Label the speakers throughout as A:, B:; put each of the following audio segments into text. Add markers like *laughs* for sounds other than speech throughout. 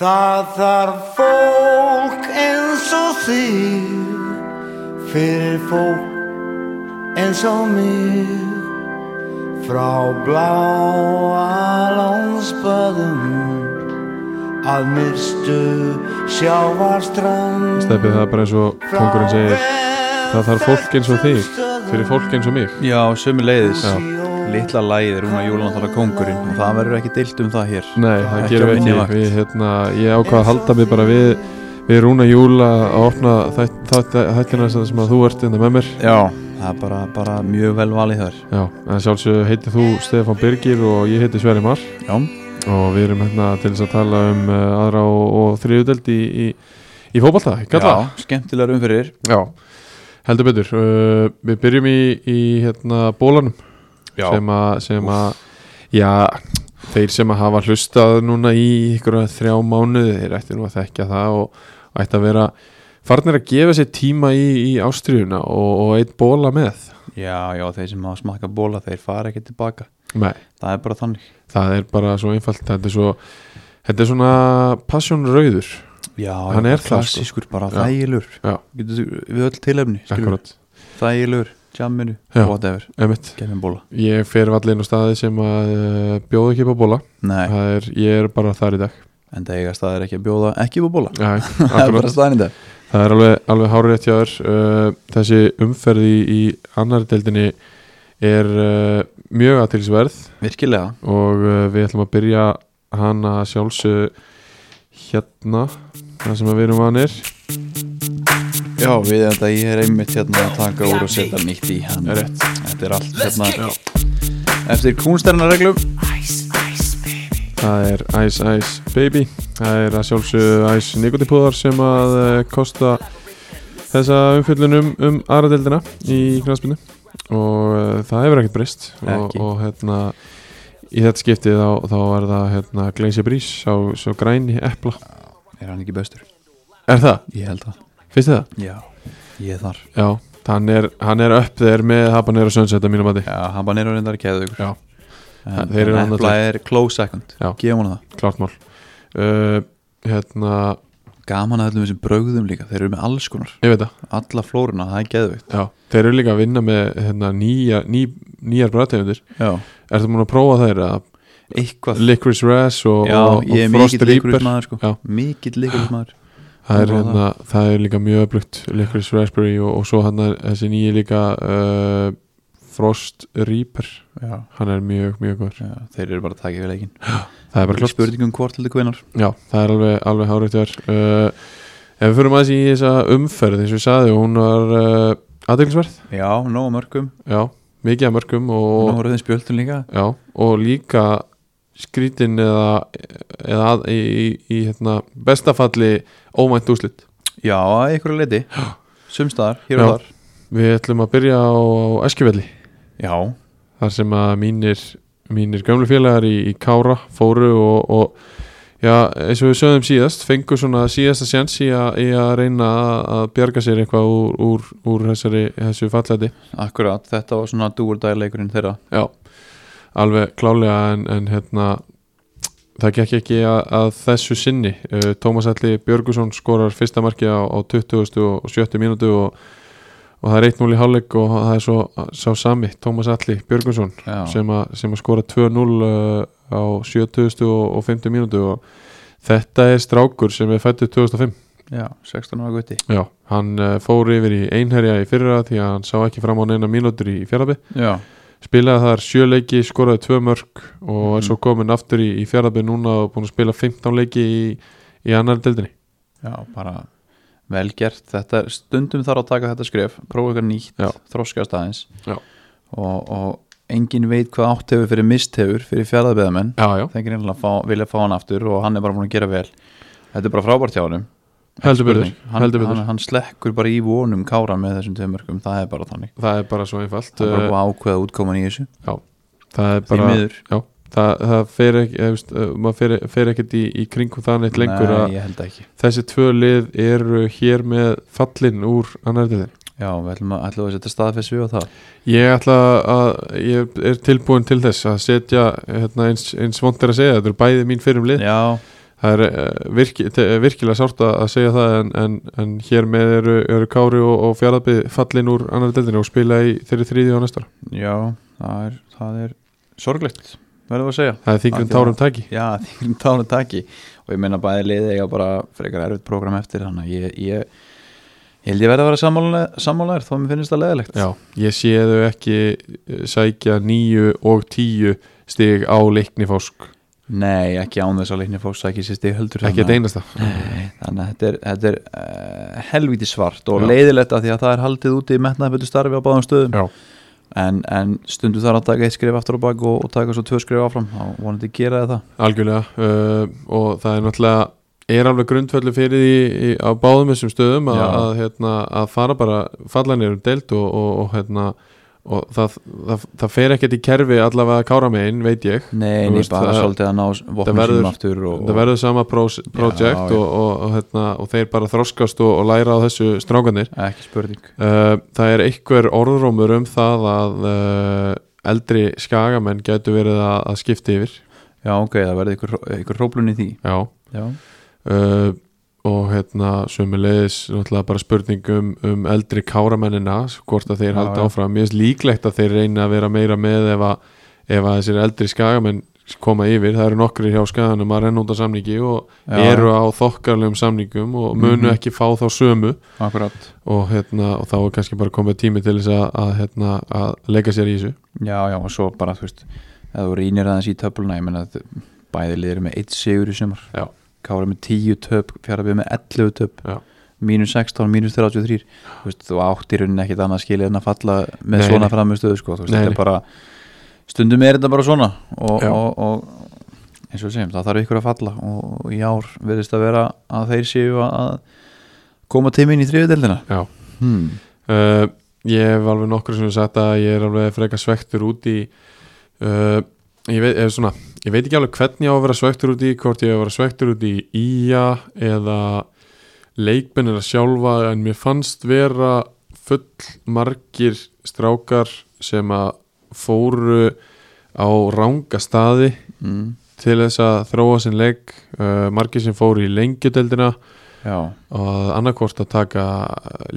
A: Það þarf fólk eins og þig fyrir fólk eins og mig frá bláa lónsböðum að myrstu sjávarstrand
B: Stefið það er bara eins og kongurinn segir Það þarf fólk eins og þig fyrir fólk eins og mig
C: Já, sömu leiðis
B: Já.
C: Litla lægið er hún að jólantala kongurinn og það verður ekki deilt um það hér
B: Nei, það gerum
C: Ekki á
B: við
C: minni
B: ekki
C: vakt.
B: við, hérna, Ég ákvað að halda mig bara við Við rúna júla að opna þættina sem að þú ert innan með mér
C: Já, það er bara, bara mjög vel valið þar
B: Já, en sjálfsög heiti þú Stefán Birgir og ég heiti Sverri Mar
C: Já,
B: og við erum hérna til þess að tala um uh, aðra og, og þriðudeld í, í, í fótbolta, ekki alltaf?
C: Já skemmtilegar umfyrir
B: Já. heldur betur. Uh, við byrjum í, í hérna bólanum sem að, sem að já, þeir sem að hafa hlustað núna í ykkur þrjá mánuði, þeir ætti nú að þekkja það og, og ætti að vera farnir að gefa sér tíma í, í ástriðuna og, og eitt bóla með.
C: Já, já, þeir sem hafa smakka bóla þeir fara ekki tilbaka
B: Nei.
C: Það er bara þannig
B: Það er bara svo einfalt, þetta er svo þetta er svona passion rauður
C: Já,
B: Hann
C: já,
B: er það, sko.
C: klassískur, bara
B: Já.
C: þægilur
B: Já.
C: Getur, Við öll tilefni, skilur
B: akkurat,
C: Þægilur, jamminu,
B: Já.
C: whatever
B: emitt
C: Gefum bóla
B: Ég fer vallin á staði sem að uh, bjóða ekki upp á bóla
C: Nei,
B: Það er, ég er bara þar í
C: *laughs*
B: dag
C: en það eiga staðir ekki að bjóða ekki upp á bóla
B: Æ,
C: *laughs* Það er bara staðin í dag
B: Það er alveg, alveg hárétt hjá þér uh, Þessi umferð í, í annar deildinni er uh, mjög aðtilsverð
C: Virkilega
B: og uh, við ætlum að byrja hana sjálfsög hérna það sem að við erum vanir
C: Já, við þetta ég er einmitt hérna að taka úr og setja nýtt í hann
B: Er rétt.
C: Þetta er allt hérna Eftir kúnsternarreglum
B: Það er Ice Ice Baby Það er að sjálfsögðu Ice Nikotipúðar sem að eh, kosta þessa umfjöllun um, um aðradeldina í knæspinu og uh, það hefur ekkert breyst og,
C: Ekki.
B: og hérna í þetta skiptið þá, þá er það hérna, Glacier Breeze á svo græni epla
C: Er hann ekki bestur?
B: Er það?
C: Ég held það
B: Finnst þið það?
C: Já, ég er þar
B: Já, hann er, hann er upp þeir með Habanero Sunset að mínu mati
C: Já, hann bara nýrður reyndar að keða ykkur
B: Já.
C: En
B: Þeir eru annað
C: Epla er close second
B: Já.
C: Gefum hann það
B: Klart mál uh, Hérna,
C: Gaman að öllum þessum brögðum líka Þeir eru með alls konar
B: ég veit það
C: Alla flóruna, það er geðveikt
B: Já, þeir eru líka að vinna með hérna, nýja, ný, nýjar bræðtegundir
C: Já
B: Ertu múin að prófa þær að
C: Eitthvað
B: Licorice Razz og,
C: Já,
B: og,
C: ég er
B: og Frost
C: mikill
B: Reaper
C: líkurismæður sko
B: Já.
C: Mikill líkurismæður
B: það er,
C: Prófa
B: hérna, það er líka mjög öflugt Licorice Raspberry og, og svo hann er þessi nýja líka uh, Frost Reaper
C: Já
B: hann er mjög, mjög góður
C: Já, þeir eru bara að taka yfir leikin
B: Það er bara klart
C: Spurningum hvort heldur hvenar
B: Já, það er alveg, alveg hárætt þér uh, Ef við fyrir maður í þessa umferð eins og ég saði, hún var uh, aðeinsverð,
C: Já, nóg af mörgum
B: já, mikið að mörgum
C: Og
B: og,
C: nú voru þeim spjöldun líka
B: já, og líka skrítin eða, eða að, í, í, í hérna, bestafalli ómænt úslit
C: Já, að einhverju leiti *gasps* Sumstaðar, hér
B: Já.
C: og þar
B: Við ætlum að byrja á, á Eskifjalli
C: Já,
B: þar sem að mínir, mínir gömlu félagar í, í Kára fóru og, og já, eins og við sögðum síðast fengu svona síðasta sjans í, a, í að reyna að, að bjarga sér eitthvað úr, úr, úr þessari, þessu fallæti
C: akkurat, þetta var svona dúurdæleikurinn þeirra
B: Já, alveg klálega en, en hérna það gekk ekki að, að þessu sinni uh, Tómas Alli Björgusson skorar fyrsta marki á, á 20. og 70. mínútu og, og það er 1-0 í hálfleik og það er svo sá sami Tómas Alli Björgusson
C: Já,
B: sem, a, sem að skora 2-0 uh, á 70. og, og 50. mínútu og þetta er strákur sem er fættur 2005
C: já 16 ára gutti
B: Já, hann uh, fór yfir í einherja í fyrra því að hann sá ekki fram á neina mínútur í fjarabi
C: Já,
B: spilaði þar sjö leiki, skoraði tvö mörg og er
C: Mhm.
B: svo komin aftur í, í fjaraðbyrð núna og búin að spila 15 leiki í, í annar deildinni
C: já, bara vel gert þetta, er- stundum þarf að taka þetta skref prófa eitthvað nýtt,
B: Já.
C: þroskast aðeins
B: Já.
C: og, og engin veit hvað átt hefur fyrir mist hefur fyrir fjaraðbeðamenn
B: Já, já,
C: þeir einhvern veginn vilja fá hann aftur og hann er bara búin að gera vel þetta er bara frábært hjá honum
B: heldur byrður,
C: Spurning. hann,
B: heldur byrður.
C: hann, hann slekkur bara í vonum kára með þessum tveimörkum, það er bara þannig
B: það er bara svo einfalt
C: það er bara
B: uh,
C: búin að ákveða útkoman í þessu
B: það er
C: því
B: bara,
C: miður
B: það, það fer ekki eða, veist, uh, maður fer, fer ekkert í, í kringum það neitt lengur
C: Nei,
B: að
C: ég held ekki
B: þessi tvö lið eru hér með fallin úr annar deildinni
C: Já, við ætlum að, ætlum að setja staðfess við á það
B: Ég ætla að, ég er tilbúin til þess að setja hérna, eins, eins vond er að segja, þetta eru bæði mín fyrir um lið
C: Já,
B: það er uh, virki, te, virkilega sárt að að segja það en, en, en hér með eru, eru Kári og, og Fjarlabið fallin úr annar deildinu og spila í þeirri þriði á næstara
C: Já, það er, það er sorglegt, verður að segja
B: það er þingjum
C: Algjörlega.
B: tárum tæki
C: Já, *laughs* þingum tánu taki og ég meina bæði liði eiga bara frekar erfitt prógram eftir þannig að ég, ég, ég held ég verði að vera sammála- sammála þér þó að mér finnist það leðilegt
B: Já, ég sé þau ekki eh, sækja nýju og tíu stig á leikni fásk
C: Nei, ekki án þess að leikni fólks ekki sér stig heldur hérna.
B: ekki að
C: þannig
B: einasta
C: Nei, þannig að þetta er, þetta er uh, helvíti svart og
B: Já.
C: leiðilegt af því að það er haldið úti í metnaðböldu starfi á báðum stöðum
B: Já.
C: en, en stundu þar að taka eitt skrif aftur á bak og, og taka svo tvö skrif áfram þá vonandi gera þið það
B: Algjörlega uh, og það er náttúrulega er alveg grundföllu fyrir því í, á báðum þessum stöðum að,
C: Já.
B: að, hérna, að fara bara falla neyrum deilt og, og, og, hérna, og það, það, það fer ekkert í kerfi allavega kára megin, veit ég Þú
C: Nei, nei,
B: veist,
C: bara
B: það-
C: svolítið að ná
B: það
C: vopnum
B: verður-
C: sínum aftur og,
B: það verður sama prós, project
C: já.
B: Og, og, og, hérna, og þeir bara þroskast og, og læra á þessu strákanir
C: ekki spurning
B: uh, það er einhver orðrómur um það að uh, eldri skagamenn gætu verið að, að skipta yfir
C: Já, ok, það verði ykkur, ykkur hróplun í því
B: já
C: Já,
B: uh, og hérna sömulegis náttúrulega bara spurning um, um eldri káramennina hvort að þeir
C: Já,
B: halda
C: já.
B: áfram mér finnst líklegt að þeir reyna að vera meira með ef að, ef að þessir eldri skagamenn koma yfir, það eru nokkri hjá skaganum að renna út á samningi og
C: Já,
B: eru á þokkarlegum samningum og munu
C: Mhm.
B: ekki fá þá sömu
C: akkurat
B: og, hérna, og þá er kannski bara komið tími til þess að, að, hérna, að leika sér í þessu
C: Já, já, og svo bara, þú veist eða þú rýnir aðeins í töfluna, ég meina að bæði liðir með eitt sigur í sumar
B: Já.
C: Kára með 10 töp, fjarafið með 11 töp
B: Já.
C: mínus 16, mínus 33 þú veist, þú áttir raunin ekkit annað skilið en að falla með
B: Nei,
C: svona
B: nei.
C: framistöðu, sko, þú veist,
B: Nei,
C: þetta
B: nei.
C: er bara stundum er þetta bara svona og,
B: Já.
C: og, og eins og við segjum, það þarf ykkur að falla og í ár verðist að vera að þeir séu að koma tíminn í þriðudeldina
B: Já.
C: hmm.
B: uh, ég hef alveg nokkur sem sagt að ég er alveg frekar svektur út í uh, ég, veit, eða svona, ég veit ekki alveg hvernig ég á að vera svektur út í hvort ég á að vera svektur út í íja eða leikmennina sjálfa en mér fannst vera full margir strákar sem að fóru á ranga staði
C: Mm.
B: til þess að þróa sinn leik uh, margir sem fóru í lengjudeldina
C: Já,
B: og annarkvort að taka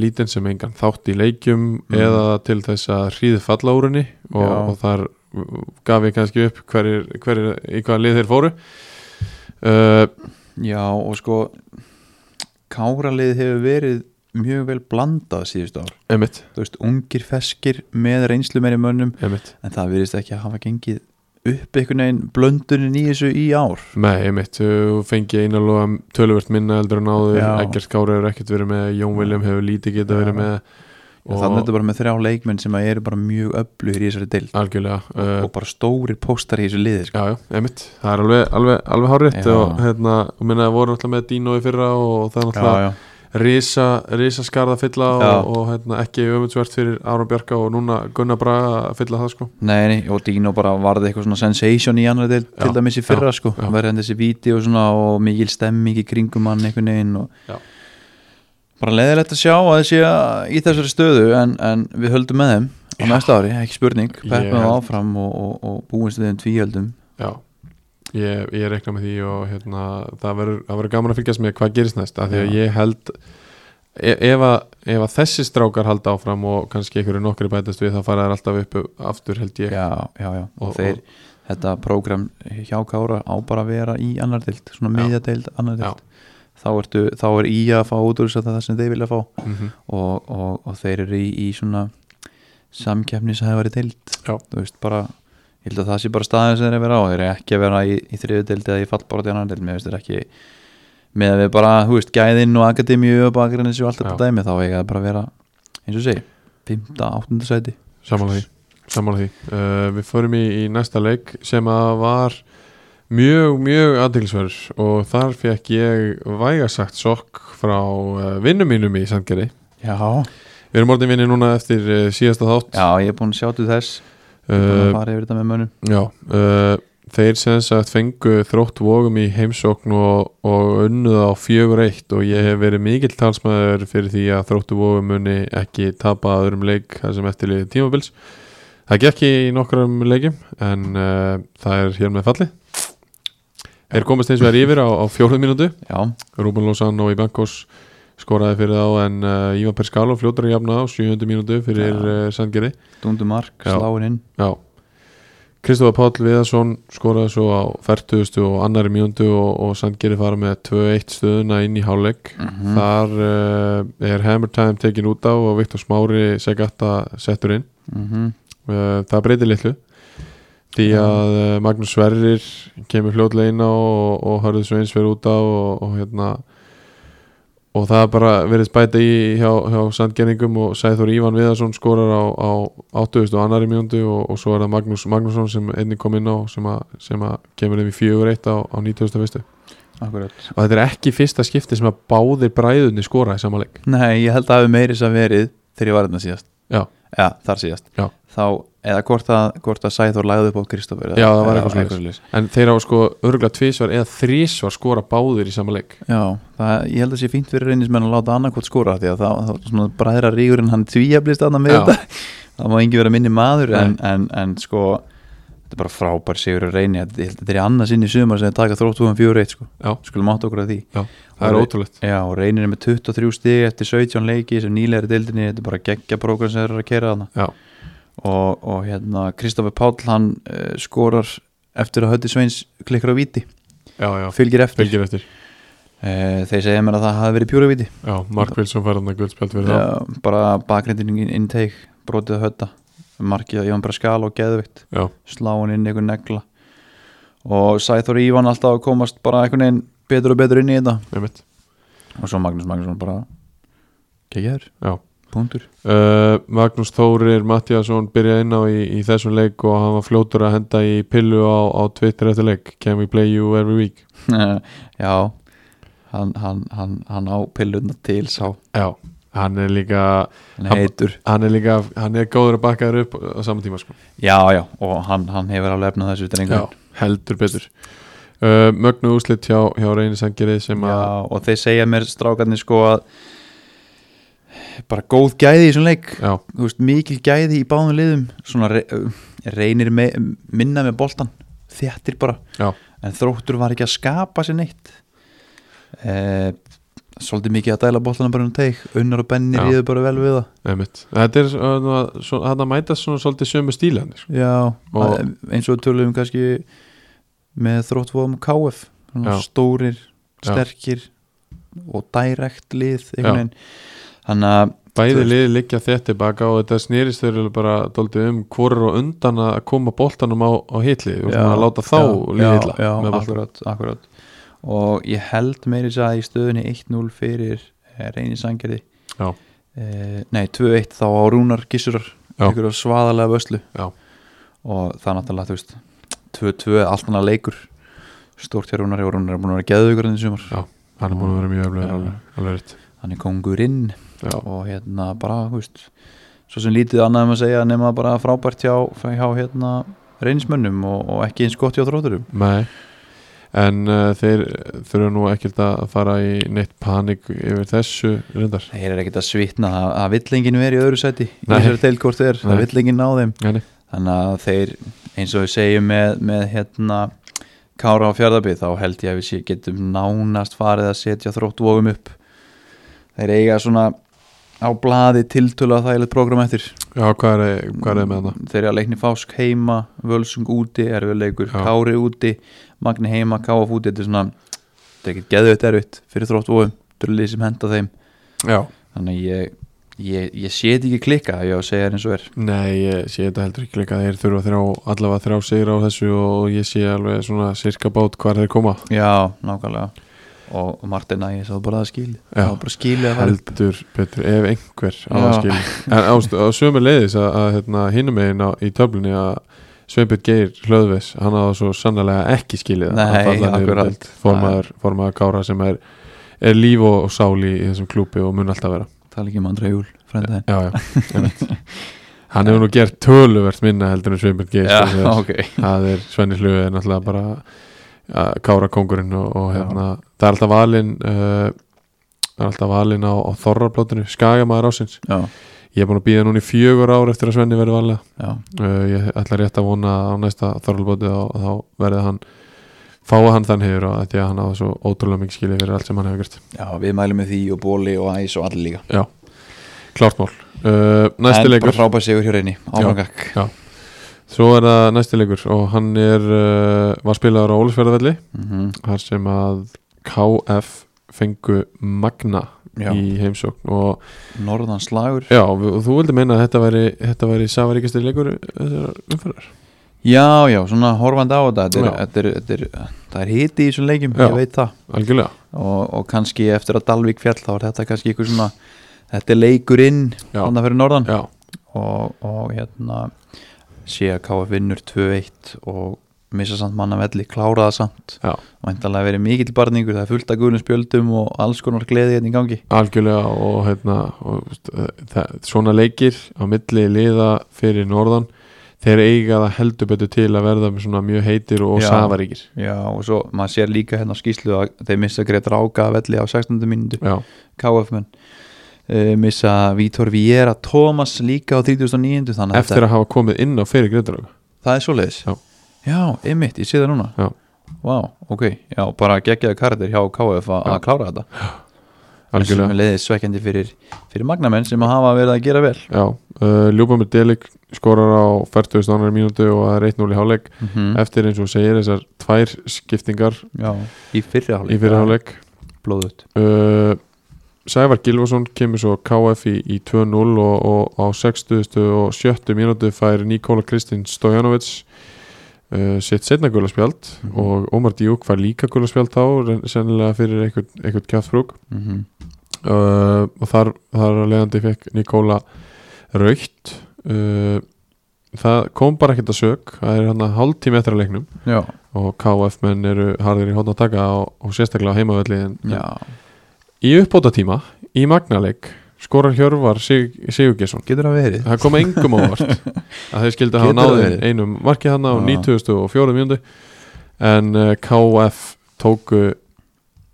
B: lítinn sem engan þátt í leikjum eða til þess að hríði falla úr henni og,
C: Mm. Já.
B: og þar gaf ég kannski upp hverjir, hverjir í hvaða lið þeir fóru uh,
C: Já og sko Káralið hefur verið mjög vel blandað síðust ár
B: emitt,
C: Þú veist, ungir feskir með reynslu meiri mönnum
B: emitt
C: en það virðist ekki að hafa gengið upp einhvern veginn blöndunin í þessu í ár
B: Nei, emitt, þú fengi einalóga töluvert minna eldur en áður,
C: Já.
B: Eggert Kári hefur ekkert verið með, Jón William hefur lítið getað verið
C: Já.
B: með
C: og þannig er þetta bara með þrjá leikmenn sem að eru bara mjög öflugir í þessari deild
B: algjörlega uh,
C: og bara stórir póstar í þessu liði sko.
B: Já, já, einmitt, það er alveg, alveg, alveg hárétt
C: Já.
B: og hérna, og minna það voru náttúrulega með Dino í fyrra og það er náttúrulega
C: já,
B: risa, risa skarða fylla
C: Já.
B: og, og hérna, ekki öfundsvert fyrir Árum Bjarka og núna Gunnar Braga að fylla það sko
C: Nei, nei, og Dino bara varði eitthvað svona sensation í annari deild
B: Já,
C: til dæmis í fyrra sko,
B: já.
C: verði hann þessi víti og svona og mikil stemming í kringum hann einhvern veginn og
B: Já.
C: bara leðilegt að sjá að þessi í þessari stöðu en, en við höldum með þeim á næsta ári, ekki spurning,
B: Ég
C: peppum það
B: held-
C: áfram og, og, og búumst við þeim tvíhjöldum
B: Já, ég, ég rekna með því og hérna, það verður það verður gaman að fylgjast með hvað gerist næst, af því að
C: Já.
B: ég held e- ef að, ef að þessi strákar halda áfram og kannski einhverju nokkri bætast við þá fara þær alltaf upp aftur held ég
C: Já, já, já, og,
B: Og-
C: þeir þetta prógram hjá Kára á bara að vera í annar deild, svona
B: Já.
C: miðja deild annar deild, þá, ertu, þá er í að fá út úr þess að það sem þeir vilja fá
B: Mhm.
C: og, og, og þeir eru í, í svona samkeppni sem hefur verið deild
B: Já.
C: þú veist bara, ég held að það sé bara staðin sem þeir eru að vera á, þeir eru ekki að vera í, í þriðu deild eða í fallbárat í annan deild mér veist þeir ekki, með að við bara þú veist, gæðin og akademíu og bakgrinnis og allt þetta
B: Já.
C: dæmi, þá eiga það bara að vera eins og segi, 5. 8. sæti
B: Samanlega því, samanlega því. Uh, Við fórum í, í næsta leik sem að var mjög, mjög aðtilsverður og þar fekk ég vægasagt sokk frá uh, vinnum mínum í Sandgerði.
C: Já,
B: Við erum orðin vinni núna eftir uh, síðasta þátt.
C: ég er búin að sjá til þess búin að
B: uh,
C: fara yfir þetta með mönnum
B: já uh, þeir sem sagt fengu þrótt vógum í heimsókn og, og unnuð á fjögur eitt og ég hef verið mikill talsmaður fyrir því að þróttu vógum muni ekki tapa að öðrum leik þar sem eftirlið tímabils eh, það gekk í nokkrum leikim en uh, það er hér með falli Þeir komast eins og er yfir á, á fjóruð mínútu
C: já,
B: Rúben Lozano í Bankos skoraði fyrir þá en uh, Ívan Perskalo fljótar að jafna á 700 mínútu fyrir
C: Já.
B: uh, Sandgerði
C: dundu mark,
B: Já.
C: sláin inn
B: Já Kristofa Páll Viðarsson skoraði svo á 40 og annari mínútu og, og Sandgerði fara með 2-1 stöðuna inn í hálfleik
C: Mm. Mhm.
B: Þar uh, er Hammer Time tekin út á og Viktor Smári Segata settur inn
C: mm
B: uh, það breytir litlu því að uh, Magnús Sverrir kemur fljótlega inn á og, og Hörður Sveins fyrir út á og, og hérna og það er bara verið spæta í hjá, hjá sandgerningum og Sæþór Ívan Viðarsson skorar á, á 80 og annari mjöndu og, og svo er það Magnús Magnússon sem einnig kom inn á sem að, sem að kemur um í 4-1 á, á 91.
C: akkurat
B: Og þetta er ekki fyrsta skipti sem að báðir bræðunni skora í samanleik.
C: nei, ég held að hafi meiri sem verið þegar ég var þarna síðast
B: Já,
C: já, þar síðast
B: Já.
C: þá, eða hvort að, hvort að Sæþór lagði upp á Kristoffer eða-
B: Já, það var
C: eða
B: eitthvað
C: svoleiðis.
B: en þeir á sko örgulega tvísvar eða þrísvar skora báðir í samanleik.
C: já, það, ég held að sé fínt fyrir reynismenn að láta annarkvort skora því að það, það svona bræðra rígurinn hann tvíablist aðna með
B: Já.
C: þetta *laughs* það má engi vera minni maður en,
B: Nei.
C: en, en sko þetta er bara frábær sigur að reyni þetta, ég held að þetta er annað sinni sumar sem þeir taka þróttum fjóru eitt sko,
B: Já.
C: skulum átt okkur að því
B: Já, það er
C: Og-
B: ótrúlegt
C: Já, og reynir er með 23 stig eftir 17 leiki sem nýlega er dildinni, þetta er bara geggja prógram sem þeir eru að kera þarna
B: Já,
C: og, og hérna Kristoffer Páll hann uh, skorar eftir að Hötti Sveins klikkar á viti
B: já, já,
C: fylgir eftir
B: fylgir eftir
C: uh, þeir segja mér að það hafi verið pjúra viti
B: Já, Mark Wilson fær hann að guldspjald fyrir það
C: Já, bara bakrindin intake brotið að Hötta markið að Jón Braskal og Geðvikt
B: Já,
C: slá hann inn einhver negla og Sæþór Ívan alltaf að komast bara einhvern veginn betur og betur inn í þetta
B: einmitt
C: og svo Magnús Magnússon bara geggjaður,
B: Já
C: punktur *laughs*
B: Uh, Magnús Þórir Mattiasson byrjaði inn á í, í þessum leik og hann var fljótur að henda í pillu á, á Twitter eftir leik Can we play you every week?
C: Já hann, hann, hann, hann á pilluna til sá
B: Já, hann er líka
C: hann
B: Hann-
C: heitur
B: hann er líka, hann er góður að bakka þér upp á sama tíma sko
C: Já, já, og hann, hann hefur alveg efnað þessu
B: Já,
C: drengur
B: heldur betur uh, Mögnu úslit hjá, hjá reynisangeri sem að
C: og þeir segja mér strákarnir sko að bara góð gæði í svona leik
B: Já,
C: Þú veist, mikil gæði í báðum liðum svona re reynir me minna með boltan, þjættir bara
B: já,
C: en þróttur var ekki að skapa sér neitt eh, svolítið mikið að dæla boltana bara um teik unnar og benni
B: Já.
C: ríður bara vel við það
B: einmitt Þetta er, uh, svo, hann að mætast svona svolítið sömu stíla hann sko.
C: Já,
B: Og-
C: að- eins og tölum kannski með þróttvóðum KF svona
B: Já.
C: stórir,
B: Já.
C: sterkir og dærekt lið
B: Já.
C: einhvern veginn þannig að Þú
B: Bæði
C: veist.
B: liði liggja þétt tilbaka og þetta snýrist þau eru bara doldið um hvorur og undan að koma boltanum á, á hitli og svona að láta þá
C: já,
B: liðið illa
C: já,
B: með boltann.
C: akkurat, akkurat og ég held meiri þess að í stöðunni 1-0 fyrir eh, reyni sangerði
B: Já.
C: eh, nei 2-1 þá á Rúnar Gissurar
B: Já.
C: ykkur á svaðalega vöslu
B: Já.
C: og það er náttúrulega þú veist 2-2 allt annað leikur stórt hjá Rúnari og Rúnar er búin að vera geðugur enn í sumar
B: hann er búin að vera mjög öflugur
C: Já.
B: alveg, alveg rétt
C: hann er kongurinn
B: já,
C: og hérna bara, þú veist svo sem lítið annað um að segja nema bara frábært hjá, hjá hérna reynismönnum og, og ekki eins gott hjá þrótturum
B: nei en uh, þeir þurfa nú ekkert að fara í neitt panik yfir þessu reyndar
C: þeir eru ekkert að svitna það, það vill enginn verið í öðru sæti í
B: Nei.
C: þessari deilkort þeir,
B: Nei.
C: það vill enginn ná þeim
B: Nei, nei.
C: þannig að þeir, eins og við segjum með, með hérna Kára á Fjardabíð þá held ég að við sé getum nánast farið að setja þróttvogum upp þeir eiga svona á blaði tiltölu að það er program eftir
B: já, hvað er, hvað er með hana?
C: þeir eru að leikni fásk heima völsung úti, erfiðleikur,
B: Já.
C: kári úti magni heima, káaf úti þetta er svona, þetta er ekkert geðveitt erfitt fyrir þrótt og dörlið sem henda þeim
B: já,
C: þannig að ég, ég, ég sé þetta ekki klikka ef ég á að segja þér eins og er
B: nei, ég sé þetta heldur ekki líka þeir þurfa þrjá, allavega þrjá sigur á þessu og ég sé alveg svona sirka bát hvar þeir koma
C: já, nákvæmlega og, og Martin að ég sá bara að skili
B: Já.
C: það var bara skili að fara upp
B: heldur betur ef einhver á
C: Já.
B: að skilja en ást, á sömu leiðis að, að hérna, hinum megin á, í töflunni að Sveinbjörn Geir Hlöðves hann á svo sannlega ekki skilið að
C: Nei,
B: falla niður
C: akkurat.
B: um deild. formaður, formaður Kára sem er, er líf og, og sál í, í þessum klúpi og mun alltaf vera
C: tala ekki um Andra Júl, frenda þinn
B: já, já, einmitt. hann hefur nú gert töluvert minna heldur en Sveinbjörn Geir sko,
C: já,
B: sem þess.
C: ok
B: það er Svenni Hlöðu er náttúrulega bara ja, Kára kongurinn og, og
C: Já.
B: hérna, það er alltaf valinn uh, það er alltaf valinn á, á Þorrablótinu Skagamæður ásins
C: já,
B: Ég er búin að býða núna í fjögur ár eftir að Svenni verði valega
C: já,
B: uh, Ég ætla rétt að vona að á næsta þorlbóti þá, þá verði hann fáa hann þann hefur og því að hann á svo ótrúlega mikið skilið fyrir allt sem hann hefur gert
C: Já, við mælum með því og bóli og æs og allir líka
B: Já, klart mál uh, Næsti
C: En
B: leikur
C: bara frábær sigur hjá reyni, áframgakk
B: Já. Svo er það næsti leikur og hann er, uh, var spilaður á Ólisverðavelli
C: mm -hmm.
B: þar sem að KF fengu Magna
C: Já.
B: í heimsókn og
C: Norðan slagur
B: já, og þú vildi meina að þetta væri, þetta væri safaríkastir leikur þessar umfyrir
C: Já, já, svona horfandi á þetta Þetta er,
B: Já.
C: þetta er, þetta er, það er hiti í þessum leikjum,
B: Já.
C: ég veit það
B: algjörlega,
C: og, og kannski eftir að Dalvík fjall þá er þetta kannski eitthvað svona þetta er leikurinn
B: Já.
C: hann fyrir norðan
B: já,
C: og, og hérna sé að KF vinnur 2-1 og missa samt manna velli, klára það samt
B: já
C: væntanlega verið mikill barningur, það er fullt af gulum spjöldum og alls konar gleði hérna í gangi
B: algjörlega og, hérna, og veist, eh, það, svona leikir á milli liða fyrir norðan þeir eiga það heldur betur til að verða með svona mjög heitir og
C: Já.
B: safaríkir
C: Já, og svo maður sér líka hérna á skýslu að þeir missa Gretar Áka af velli á 16. mínútu
B: já,
C: KF-menn uh, missa Vítor Viera Thomas líka á 39. þannig að
B: eftir að hafa komið inn á fyrir Grindavík
C: Það er svoleiðis?
B: Já.
C: Já, einmitt, ég sé það núna
B: Já.
C: Vá, ok, já, bara geggjaði karatir hjá KF að að klára þetta
B: algjörlega
C: Sem leiðið svekkjandi fyrir, fyrir magnamenn sem hafa verið að gera vel
B: Já, uh, Ljúbamir Delik skorar á 40. annar mínútu og það er 1-0 í hálfleik
C: mm
B: eftir eins og þú segir þessar tvær skiptingar
C: Já, í fyrri
B: í
C: hálfleik
B: fyrir hálfleik
C: Blóðut
B: uh, Sævar Gilvason kemur svo KF í, í 2-0 og, og á 60. og 70. mínútu fær Nikola Kristinn Stojanovic uh, sitt setna gulaspjald
C: Mhm.
B: og Omar Díuk fær líka gulaspjald þá ren- sennilega fyrir einhvern, einhvern kjáttfrúk
C: mm
B: uh, og þar, þar að leiðandi fekk Nikóla raukt uh, það kom bara ekkert að sög það er hann að hálftími eftir að leiknum
C: Já,
B: og KF menn eru harðir í hótt að taka og, og sérstaklega á heimavelli en,
C: já,
B: í uppbóta tíma, í magnaleik skorar Hjörvar Sig, Sigurgesson
C: getur það verið
B: það kom engum
C: *laughs*
B: ávart að þeir skildi hafa
C: Getur það
B: náðin
C: verið?
B: einum marki hann á
C: Já.
B: 94 mjöndu en uh, KF tóku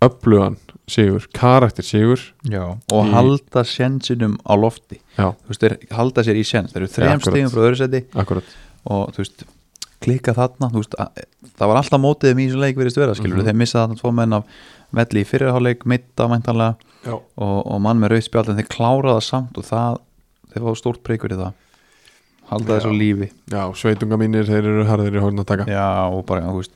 B: öflugan Sigur, karakter Sigur
C: Já, og
B: Í-
C: halda sensinum á lofti
B: Já.
C: Þú veist, þeir halda sér í sens Þeir eru
B: Ja,
C: þrem
B: akkurat.
C: stegum frá öðru seti
B: akkurat
C: og þú veist klikka þarna, þú veist, að, það var alltaf mótið um í þessum leik verið stöðra, skilur,
B: Mhm.
C: þeir missa þarna tvo menn af velli í fyrirháleik, mitta mæntanlega
B: Já.
C: og, og mann með rauðspjald en þeir klára það samt og það þeir fá stórt preikur í það halda
B: Já.
C: þessu á lífi
B: Já, sveitunga mínir, þeir eru harðir í hólna að taka
C: Já, og bara, þú veist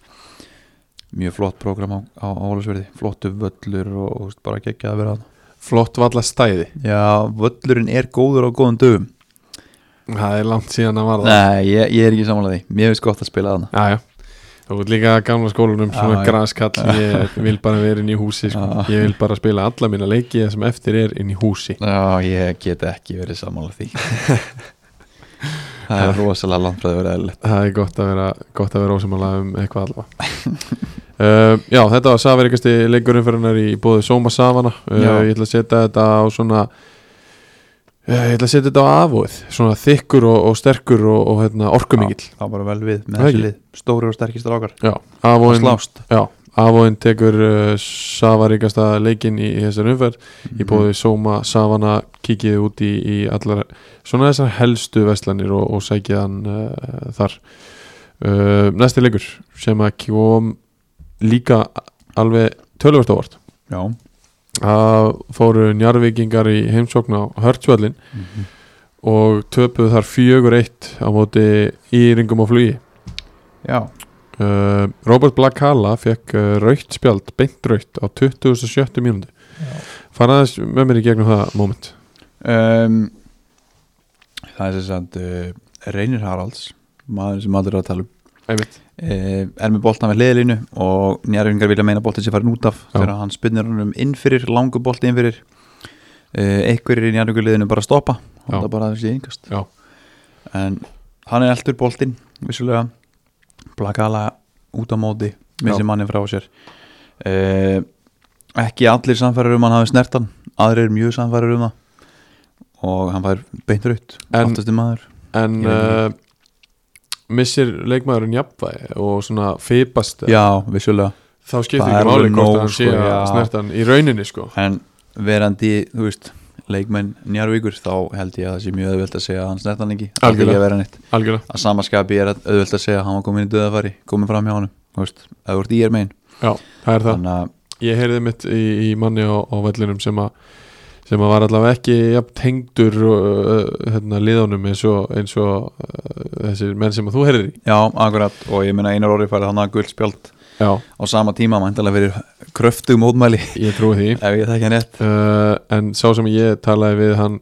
C: mjög flott prógram á, á Ólusverði flottu völlur og þú veist, bara gekkja að vera þarna.
B: Flott valla stæði
C: Já, völlurinn er góður á góðum dögum
B: Það er langt síðan að varða
C: Nei, ég, ég er ekki samanlega því, mér finnst gott að spila þarna
B: Já, já Þú ert líka að gamla skólanum svona
C: Já, já.
B: graskall Ég vil bara vera inn í húsi sko.
C: Já.
B: Ég vil bara spila alla mína leiki það sem eftir er inn í húsi
C: Já, ég get ekki verið sammála *laughs* því Það er rosalega langt frá því að vera eðlilegt
B: Það er gott að vera, gott að vera ósumála um eitthvað allavega
C: *laughs*
B: uh, Já, þetta var safaríkasti leikurinn fyrir hennar í bóði Soma Savana uh,
C: Já.
B: Ég ætla að setja þetta á svona uh, Ég ætla að setja þetta á afóð Svona þykkur og, og sterkur og, og hérna, orkumikill
C: Það var bara vel við með
B: Það
C: þessu
B: ekki?
C: lið Stóri og sterkist rákar
B: Já, afóðin
C: Slást
B: Já, Avóin tekur uh, safaríkasta leikinn í, í þessar umferð í bóði Soma, Savana kikið út í, í allar svona þessar helstu veslanir og, og sækið hann uh, þar uh, Næsti leikur sem að kom líka alveg tölvöld ávart
C: Já
B: það fóru njarvíkingar í heimsókn á Hörtsvöllin
C: Mhm.
B: og töpuðu þar fjögur eitt á móti íringum á flugi
C: Já
B: Uh, Robert Black Halla fekk uh, raukt spjald, beint raukt á 27. mínúti faraðis með mér í gegnum það moment
C: um, Það er sem sagt uh, Reynir Haralds maður sem allir er að tala um
B: Einmitt.
C: uh, er með boltan við hliðlínu og njárfingar vilja meina boltin sem farin út af
B: Já.
C: þegar hann spinnir hann um innfyrir, langu bolti innfyrir uh, einhverjir í njárfingar liðinu bara stoppa
B: Já.
C: hann bara að þessi yngast
B: Já.
C: en hann er eldur boltin vissulega plakala út á móti
B: Já.
C: missi manni frá sér uh, ekki allir samfærar um hann hafi snertan aðrir eru mjög samfærar um það og hann fær beintur út
B: En-
C: aftasti maður
B: en
C: Ég
B: uh,
C: veit
B: missir leikmaðurinn jafnvægi og svona fipast
C: já, vissulega
B: þá skiptir
C: Það
B: ekki
C: er
B: máli
C: alveg
B: hvort
C: nóg,
B: að hann sé
C: sko,
B: að
C: já.
B: snerta hann í rauninni sko
C: en verandi, þú veist leikmenn Njarvíkur, þá held ég að það sé mjög auðvelt að segja að hann snertan hann ekki Það þarf ekki
B: Algjörlega.
C: að vera neitt
B: algjörlega,
C: að samaskapi er auðvelt að segja að hann var komin í döðafæri komin fram hjá honum þú veist, ef þú ert í er megin
B: já, það er það
C: þannig að
B: ég heyrði mitt í, í manni á, á vellinum sem að sem að var allavega ekki jafn tengdur uh, hérna, liðanum eins og, eins og uh, þessir menn sem að þú heyrðir í
C: Já, akkurat og ég meina einar orðið færið þannig að guld spjald
B: já,
C: á sama tíma mæntalega fyrir kröftug mótmæli *laughs*
B: ég trúi því
C: ef ég þekki hann rétt
B: uh, en sá sem ég talaði við hann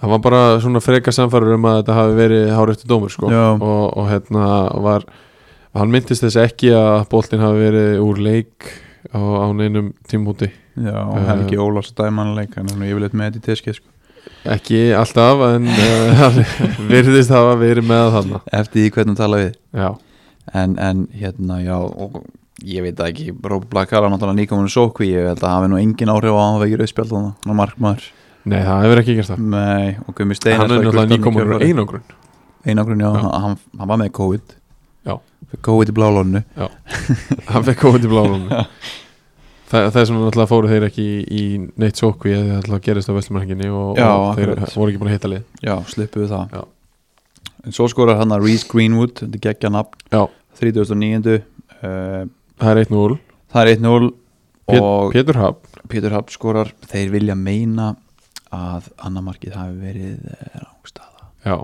B: hann var bara svona frekar samfærur um að þetta hafi verið háréttu dómur sko.
C: Já.
B: og, og hérna var hann myndist þess ekki að boltin hafi verið úr leik á, á neinum tímúti Eh.
C: Já, uh, Helgi Ólafs dæmanleik hann er nú yfirleitt með þetta í teskið sko.
B: ekki alltaf en uh, *laughs* hann virðist hafa verið með þarna
C: eftir því hvernig tala við
B: já,
C: en, en hérna, já og, ég veit það ekki, Rób Blakar hann náttúrulega nýkominu sókví, ég held að hafi nú engin áhrif á að hann vekir auðspjald þannig, hann markmaður
B: nei það hefur ekki gert það
C: Nei, og Gumi Stein
B: hann er náttúrulega nýkomur úr einangrun
C: Einagrun, já,
B: Já.
C: Hann, hann var með COVID
B: Já.
C: Fekk COVID í blálónu
B: hann fekk komið til blárum Þa, það sem náttúrulega fóru þeir ekki í, í neitt sókvi eða það náttúrulega gerist á Vestlumælginni og,
C: Já,
B: og þeir
C: akkurat.
B: voru ekki búin að hitta lið
C: Já, sluppu við það
B: Já.
C: En svo skorar hann að Reese Greenwood Þetta er geggja nafn
B: já,
C: 39. Uh,
B: það er 1-0
C: það er 1-0
B: Pét,
C: Og
B: Pétur Hab
C: Pétur Hafn skorar Þeir vilja meina að annamarkið hafi verið eh, rángstaða
B: já.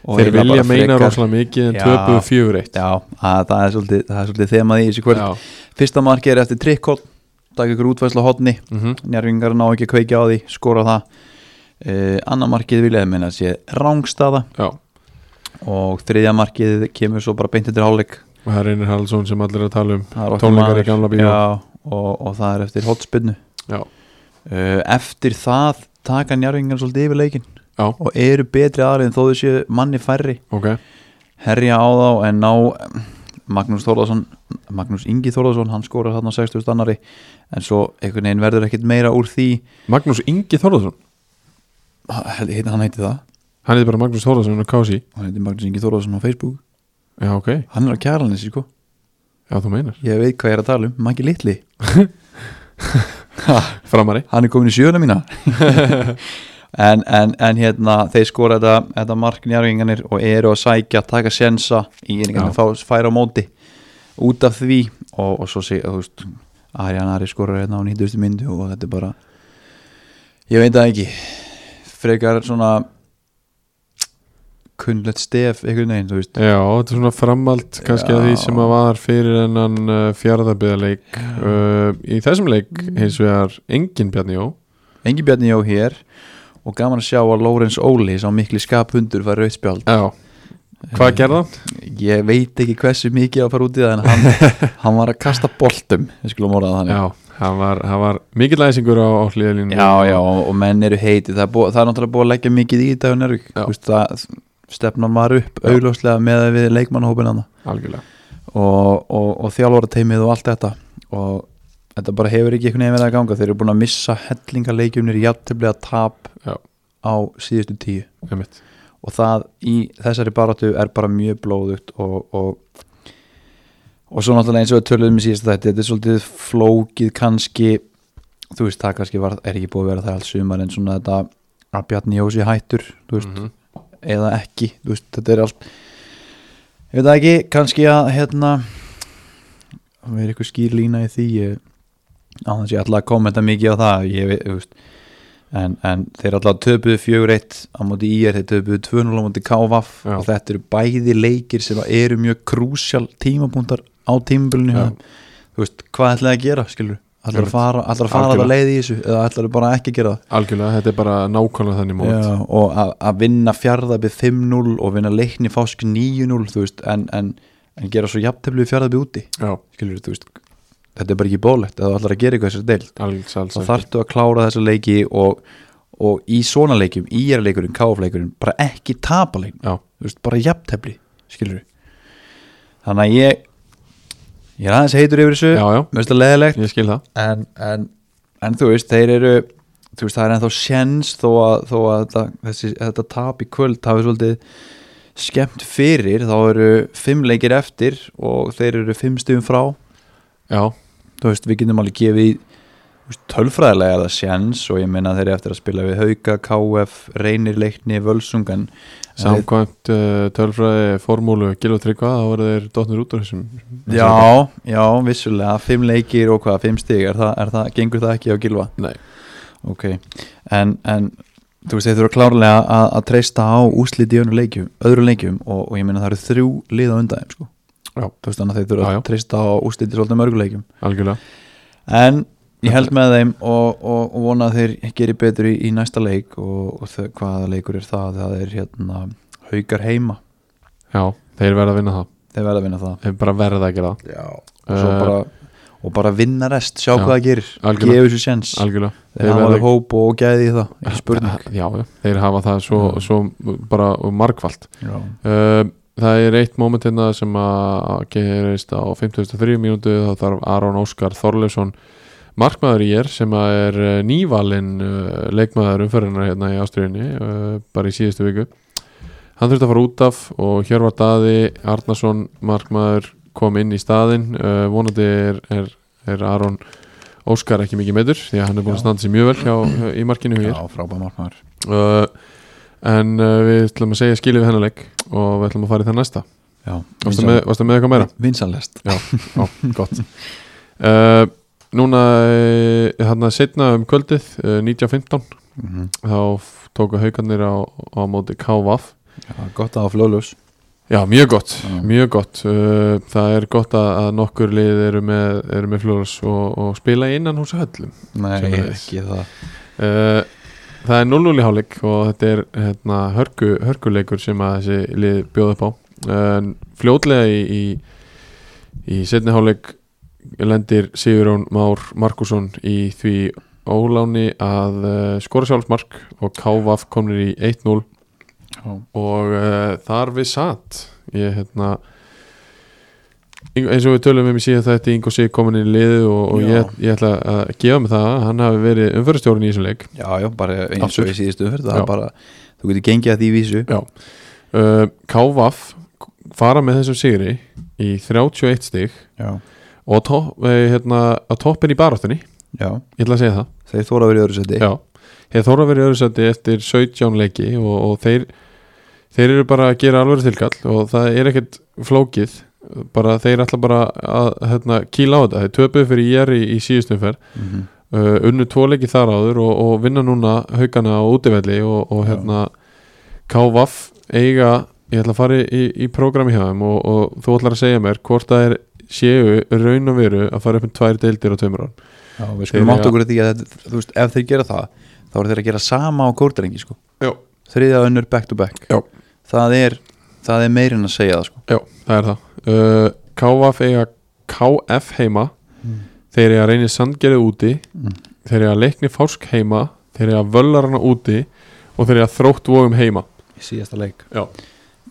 C: Og
B: þeir
C: eiginlega
B: vilja
C: bara
B: meina
C: frekar-
B: rosalega mikið en
C: Já.
B: töpuðu 4-1
C: Já, að, það, er svolítið, það er svolítið þemað í þessu kvöld
B: Já.
C: Fyrsta markið er eftir trikkótt Takk ykkur útfæsla hotni
B: Mhm.
C: njárvingar ná ekki að kveikja á því skora það uh, annar markið viljaði minna sé rángstaða
B: já,
C: og þriðja markið kemur svo bara beint eftir hálfleik
B: og það er Einar Hallsson sem allir er að tala um
C: Það er okkar
B: Tónleikar í
C: maður.
B: gamla bíó.
C: Já, og, og það er eftir hotspinnu
B: já,
C: uh, eftir það taka njárvingar svolítið yfir leikin
B: já,
C: og eru betri aðrið en þó þessu manni færri
B: ok
C: herja á þá en ná em, Magnús Þórðarsson Magnús Ingi Þórðarsson, hann skorar þarna á 60 annari en svo einhvern veginn verður ekkit meira úr því
B: Magnús Ingi Þórðarsson,
C: hann hann heiti það,
B: hann heitir bara Magnús Þórðarsson og Kási,
C: hann heiti Magnús Ingi Þórðarsson á Facebook
B: já ok
C: Hann er á kjæralinsi sko
B: já þú meinar,
C: Ég veit hvað ég er að tala um, Maggi Litli
B: framari
C: Hann er komin í sjöuna mína en, en, en hérna Þeir skora þetta, þetta mark njárgengarnir Og eru að sækja, taka sensa Í einhvern
B: Já.
C: veginn færa á móti Út af því Og, og svo sé, þú veist Arjan Ari skorar hérna á 90. myndu Og þetta er bara Ég veit það ekki Frekar svona Kunnlegt stef, einhvern veginn, þú veist
B: Já, þetta er svona framald kannski
C: Já.
B: að því sem að var fyrir ennan uh, fjárðarbyðarleik uh, Í þessum leik hins vegar engin Bjarni Jó
C: Engi Bjarni Jó hér og gaman að sjá að Lórens Óli sá mikli skaphundur var rauðspjald
B: Já, hvað gerði hann?
C: ég veit ekki hversu mikið að fara út í það en
B: *laughs*
C: hann, hann var að kasta boltum við skulum orðað þannig
B: Já, hann var, hann var mikill æsingur á, á hlýðalínu
C: já, já, og, og menn eru heiti það er, búið, það er náttúrulega búið að leggja mikið í þetta hjá Njarðvík.
B: Já.
C: Þú veist, það stefnan var upp
B: Já.
C: augljóslega með að við leikmannhópin hann
B: Algjörlega
C: og, og, og þjálfarateymið og allt þetta og þetta bara hefur ekki einhvern veginn verið að ganga þeir eru búin að missa hellingaleikjumnir játtiflega tap
B: Já.
C: á síðustu tíu
B: einmitt.
C: og það í þessari baráttu er bara mjög blóðugt og, og og svo náttúrulega eins og við töluðum í síðast þetta, þetta er svolítið flókið kannski, þú veist það kannski var, er ekki búið að vera það alls sumar en svona þetta að Bjarni Jósi hættur þú veist,
B: Mhm.
C: eða ekki þú veist, þetta er allt ég veit það ekki, kannski að hérna það er eitthvað skýr lína í því ég, á þess ég ætla að kommenta mikið á það ég veit, þú veist en, en þeir alltaf töpuðu 4-1 á móti IR, þeir töpuðu 2-0 á móti KVF
B: Já.
C: og þetta eru bæði leikir sem að eru mjög krúsjál tímapunktar á tímabilinu hjá
B: Já.
C: þeim. þú veist, hvað ætlaði að gera, skilur ætlaði
B: Einmitt.
C: að fara, ætlaði að fara þetta
B: Algjörlega.
C: leið í þessu eða ætlaði bara ekki að gera það
B: Algjörlega, þetta er bara nákvæmlega þannig mót
C: Já, og að, að vinna fjárðabið 5-0 og vinna leikni fásk 9-0 þú veist, en, en, en gera svo jafnteflu fjárðabið úti
B: Já,
C: skilur, veist, þetta er bara ekki bólegt að þú ætlar að gera eitthvað þessar deild
B: alls, alls
C: þá
B: ekki.
C: þarftu að klára þessa leiki og, og í svona leikjum, í er leikurinn, káf leikurinn bara ekki tapa leiknum
B: Já,
C: þú veist, bara jafntefli, skilur þannig að ég ég er aðeins heitur yfir þessu
B: já, já,
C: mér finnst það leðilegt
B: ég skil það
C: en, en, en þú veist, þeir eru þú veist, það er ennþá sjens þó að, þó að þetta, þessi, þetta tap í kvöld hafi svolítið skemmt fyrir, þá eru fimm leikir eftir og þeir eru fimm stigum frá
B: Já,
C: þú veist, við getum alveg gefið í- þú veist, tölfræðilega er það sjens og ég minna þeir eru eftir að spila við Hauka, KF, Reynir, Leikni, Völsungan
B: Samkvæmt uh, tölfræði formúlu Gil og Tryggva þá verður þeir dotnir út úr þessum
C: Já, já, vissulega, fimm leikir og hvað, fimm stig, er það, er það, gengur það ekki á gilva?
B: Nei.
C: Ok, en, en þú veist, þeir þurfa klárlega að, að treysta á úslit í öðru leikjum, öðru leikjum og, og ég meina það eru þrjú lið á undan þeim, sko.
B: Já.
C: Þú veist, þannig að þeir þurfa
B: Já, já.
C: að treysta á úslit í svolítið mörgu leikjum.
B: Algjörlega
C: En ég held með þeim og, og, og vona að þeir geri betur í, í næsta leik og, og þau- hvaða leikur er það, það er hérna haukar heima,
B: Já, þeir verða að vinna það
C: þeir verða að vinna það.
B: Þeir bara verða að gera það
C: Já. Og svo
B: Eh,
C: bara, og bara vinna rest, sjá
B: já,
C: hvað það gerir,
B: algjörlega.
C: gefa þessu sjens.
B: Algjörlega
C: Þeir hafa alveg hóp og gæði í það,
B: *laughs*
C: ekki spurning.
B: Já, já, þeir hafa það svo,
C: Já.
B: svo bara margvalt
C: Já.
B: uh, Það er eitt moment hérna sem að gerist á 53 mínútu þá þarf Aron Óskar Þorleifsson markmaður í er sem að er eh, nývalinn eh, leikmaður umferðinar hérna í Ástriðinni uh, bara í síðustu viku Hann þurfti að fara út af og hér var Daði Arnason markmaður kom inn í staðinn uh, vonandi er, er, er Aron Óskar ekki mikið meður því að hann er búin að
C: Já.
B: standa sér mjög vel hjá, í markinu hér
C: Já, frábæð markmaður.
B: uh, en uh, við ætlum að segja skilið við hennar leik og við ætlum að fara í það næsta
C: Já,
B: varstu með, varstu með eitthvað meira?
C: Vinsanlest.
B: Já, gott uh, Núna uh, hann að setna um kvöldið uh, 19.15
C: Mm
B: þá f- tóku haugarnir á, á móti KVAF
C: Já, gott að hafa flóðljós.
B: Já, mjög gott,
C: Já.
B: mjög gott uh, það er gott að, að nokkur lið eru með, eru með flóðars og, og spila innan hús höllum
C: Nei,
B: Sömuleiðis.
C: ekki það.
B: Eh, Það er 0-0 í hálfleik og þetta er hérna, hörku, hörkuleikur sem að þessi lið bjóð upp á en fljótlega í, í, í setni hálfleik lendir Sigurjón Már Markusson í því óláni að uh, skora sjálfsmark og Kávaf komnir í 1-0
C: Já.
B: og uh, þar við satt ég hérna Ing- eins og við tölum um í síðan þetta Ingo Sig komin í liðu og, og
C: Já.
B: ég, ég ætla að gefa mig það að hann hafi verið umfyrstjórn í þessum leik
C: Já, já, bara eins
B: Aftur.
C: og í síðustu umferð, það
B: Já.
C: er bara, þú getur gengið að því vísu.
B: uh, Kávaf fara með þessum sigri í 31 stig
C: Já.
B: og to eh, hérna, á toppin í baráttinni
C: Já,
B: ég ætla að segja það
C: þeir þóra að vera í öðru seti.
B: Já. ég þóra að vera í öðru seti eftir 17 leiki og, og þeir, þeir eru bara að gera alveg tilkall og það er ekkert flókið bara þeir ætla bara að hérna, kýla á þetta, þeir töpuðu fyrir IR í, í síðustum fer
C: Mhm.
B: uh, unnu tvo leiki þar áður og, og vinna núna haugana á útivelli og, og
C: Já.
B: hérna KVF eiga ég ætla að fara í, í prógrami hjá þeim og, og þú ætlar að segja mér hvort það er séu raun og veru að fara upp um tvær deildir á tveimur árum
C: Já, við skulum
B: Þeir
C: átt
B: eiga-
C: okkur að því að, þetta- þú veist, ef þeir gera það, þá eru þeir að gera sama á kórdrengi, sko.
B: Já.
C: Þriðja önnur back to back.
B: Já.
C: Það er, það er meirinn að segja það, sko.
B: Já, það er það uh, KVF eiga KF heima
C: Mm.
B: þeir eiga reynir sandgerði úti
C: Mm.
B: þeir eiga leikni fásk heima þeir eiga völlarana úti og þeir eiga þrótt vógum heima
C: Í síðasta leik.
B: Já.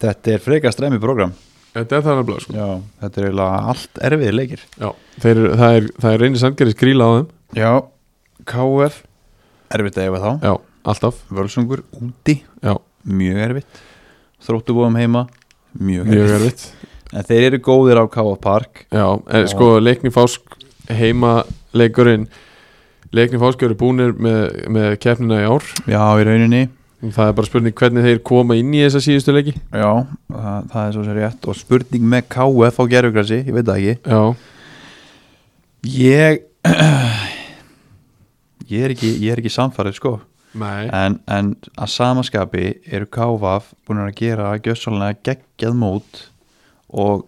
C: Þetta er frekar stremmi program.
B: Þetta er það nefnilega sko
C: Já, þetta er eiginlega allt erfiðir leikir
B: Já. Þeir, eru- það, er, það er reynir sandgerði skrýla á þeim
C: Já, KF Erfitt að efa þá
B: Já, alltaf
C: Völsungur úti
B: Já.
C: Mjög erfitt Þróttubóðum heima Mjög,
B: Mjög
C: erfitt
B: erfitt
C: En þeir eru góðir á KF Park
B: Já,
C: Já.
B: en, sko leikni fásk heima leikurinn leikni fásk eru búnir með, með keppnina í ár
C: Já, í rauninni
B: það er bara spurning hvernig þeir koma inn í þessa síðustu leiki
C: Já, það, það er svo sér rétt Og spurning með KF á gerfugrassi Ég veit það ekki
B: Já,
C: Ég *clears throat* Ég er ekki, ég er ekki samfærið sko
B: nei
C: en, en að samaskapi eru KVAF búin að gera gjössalega geggjað mót og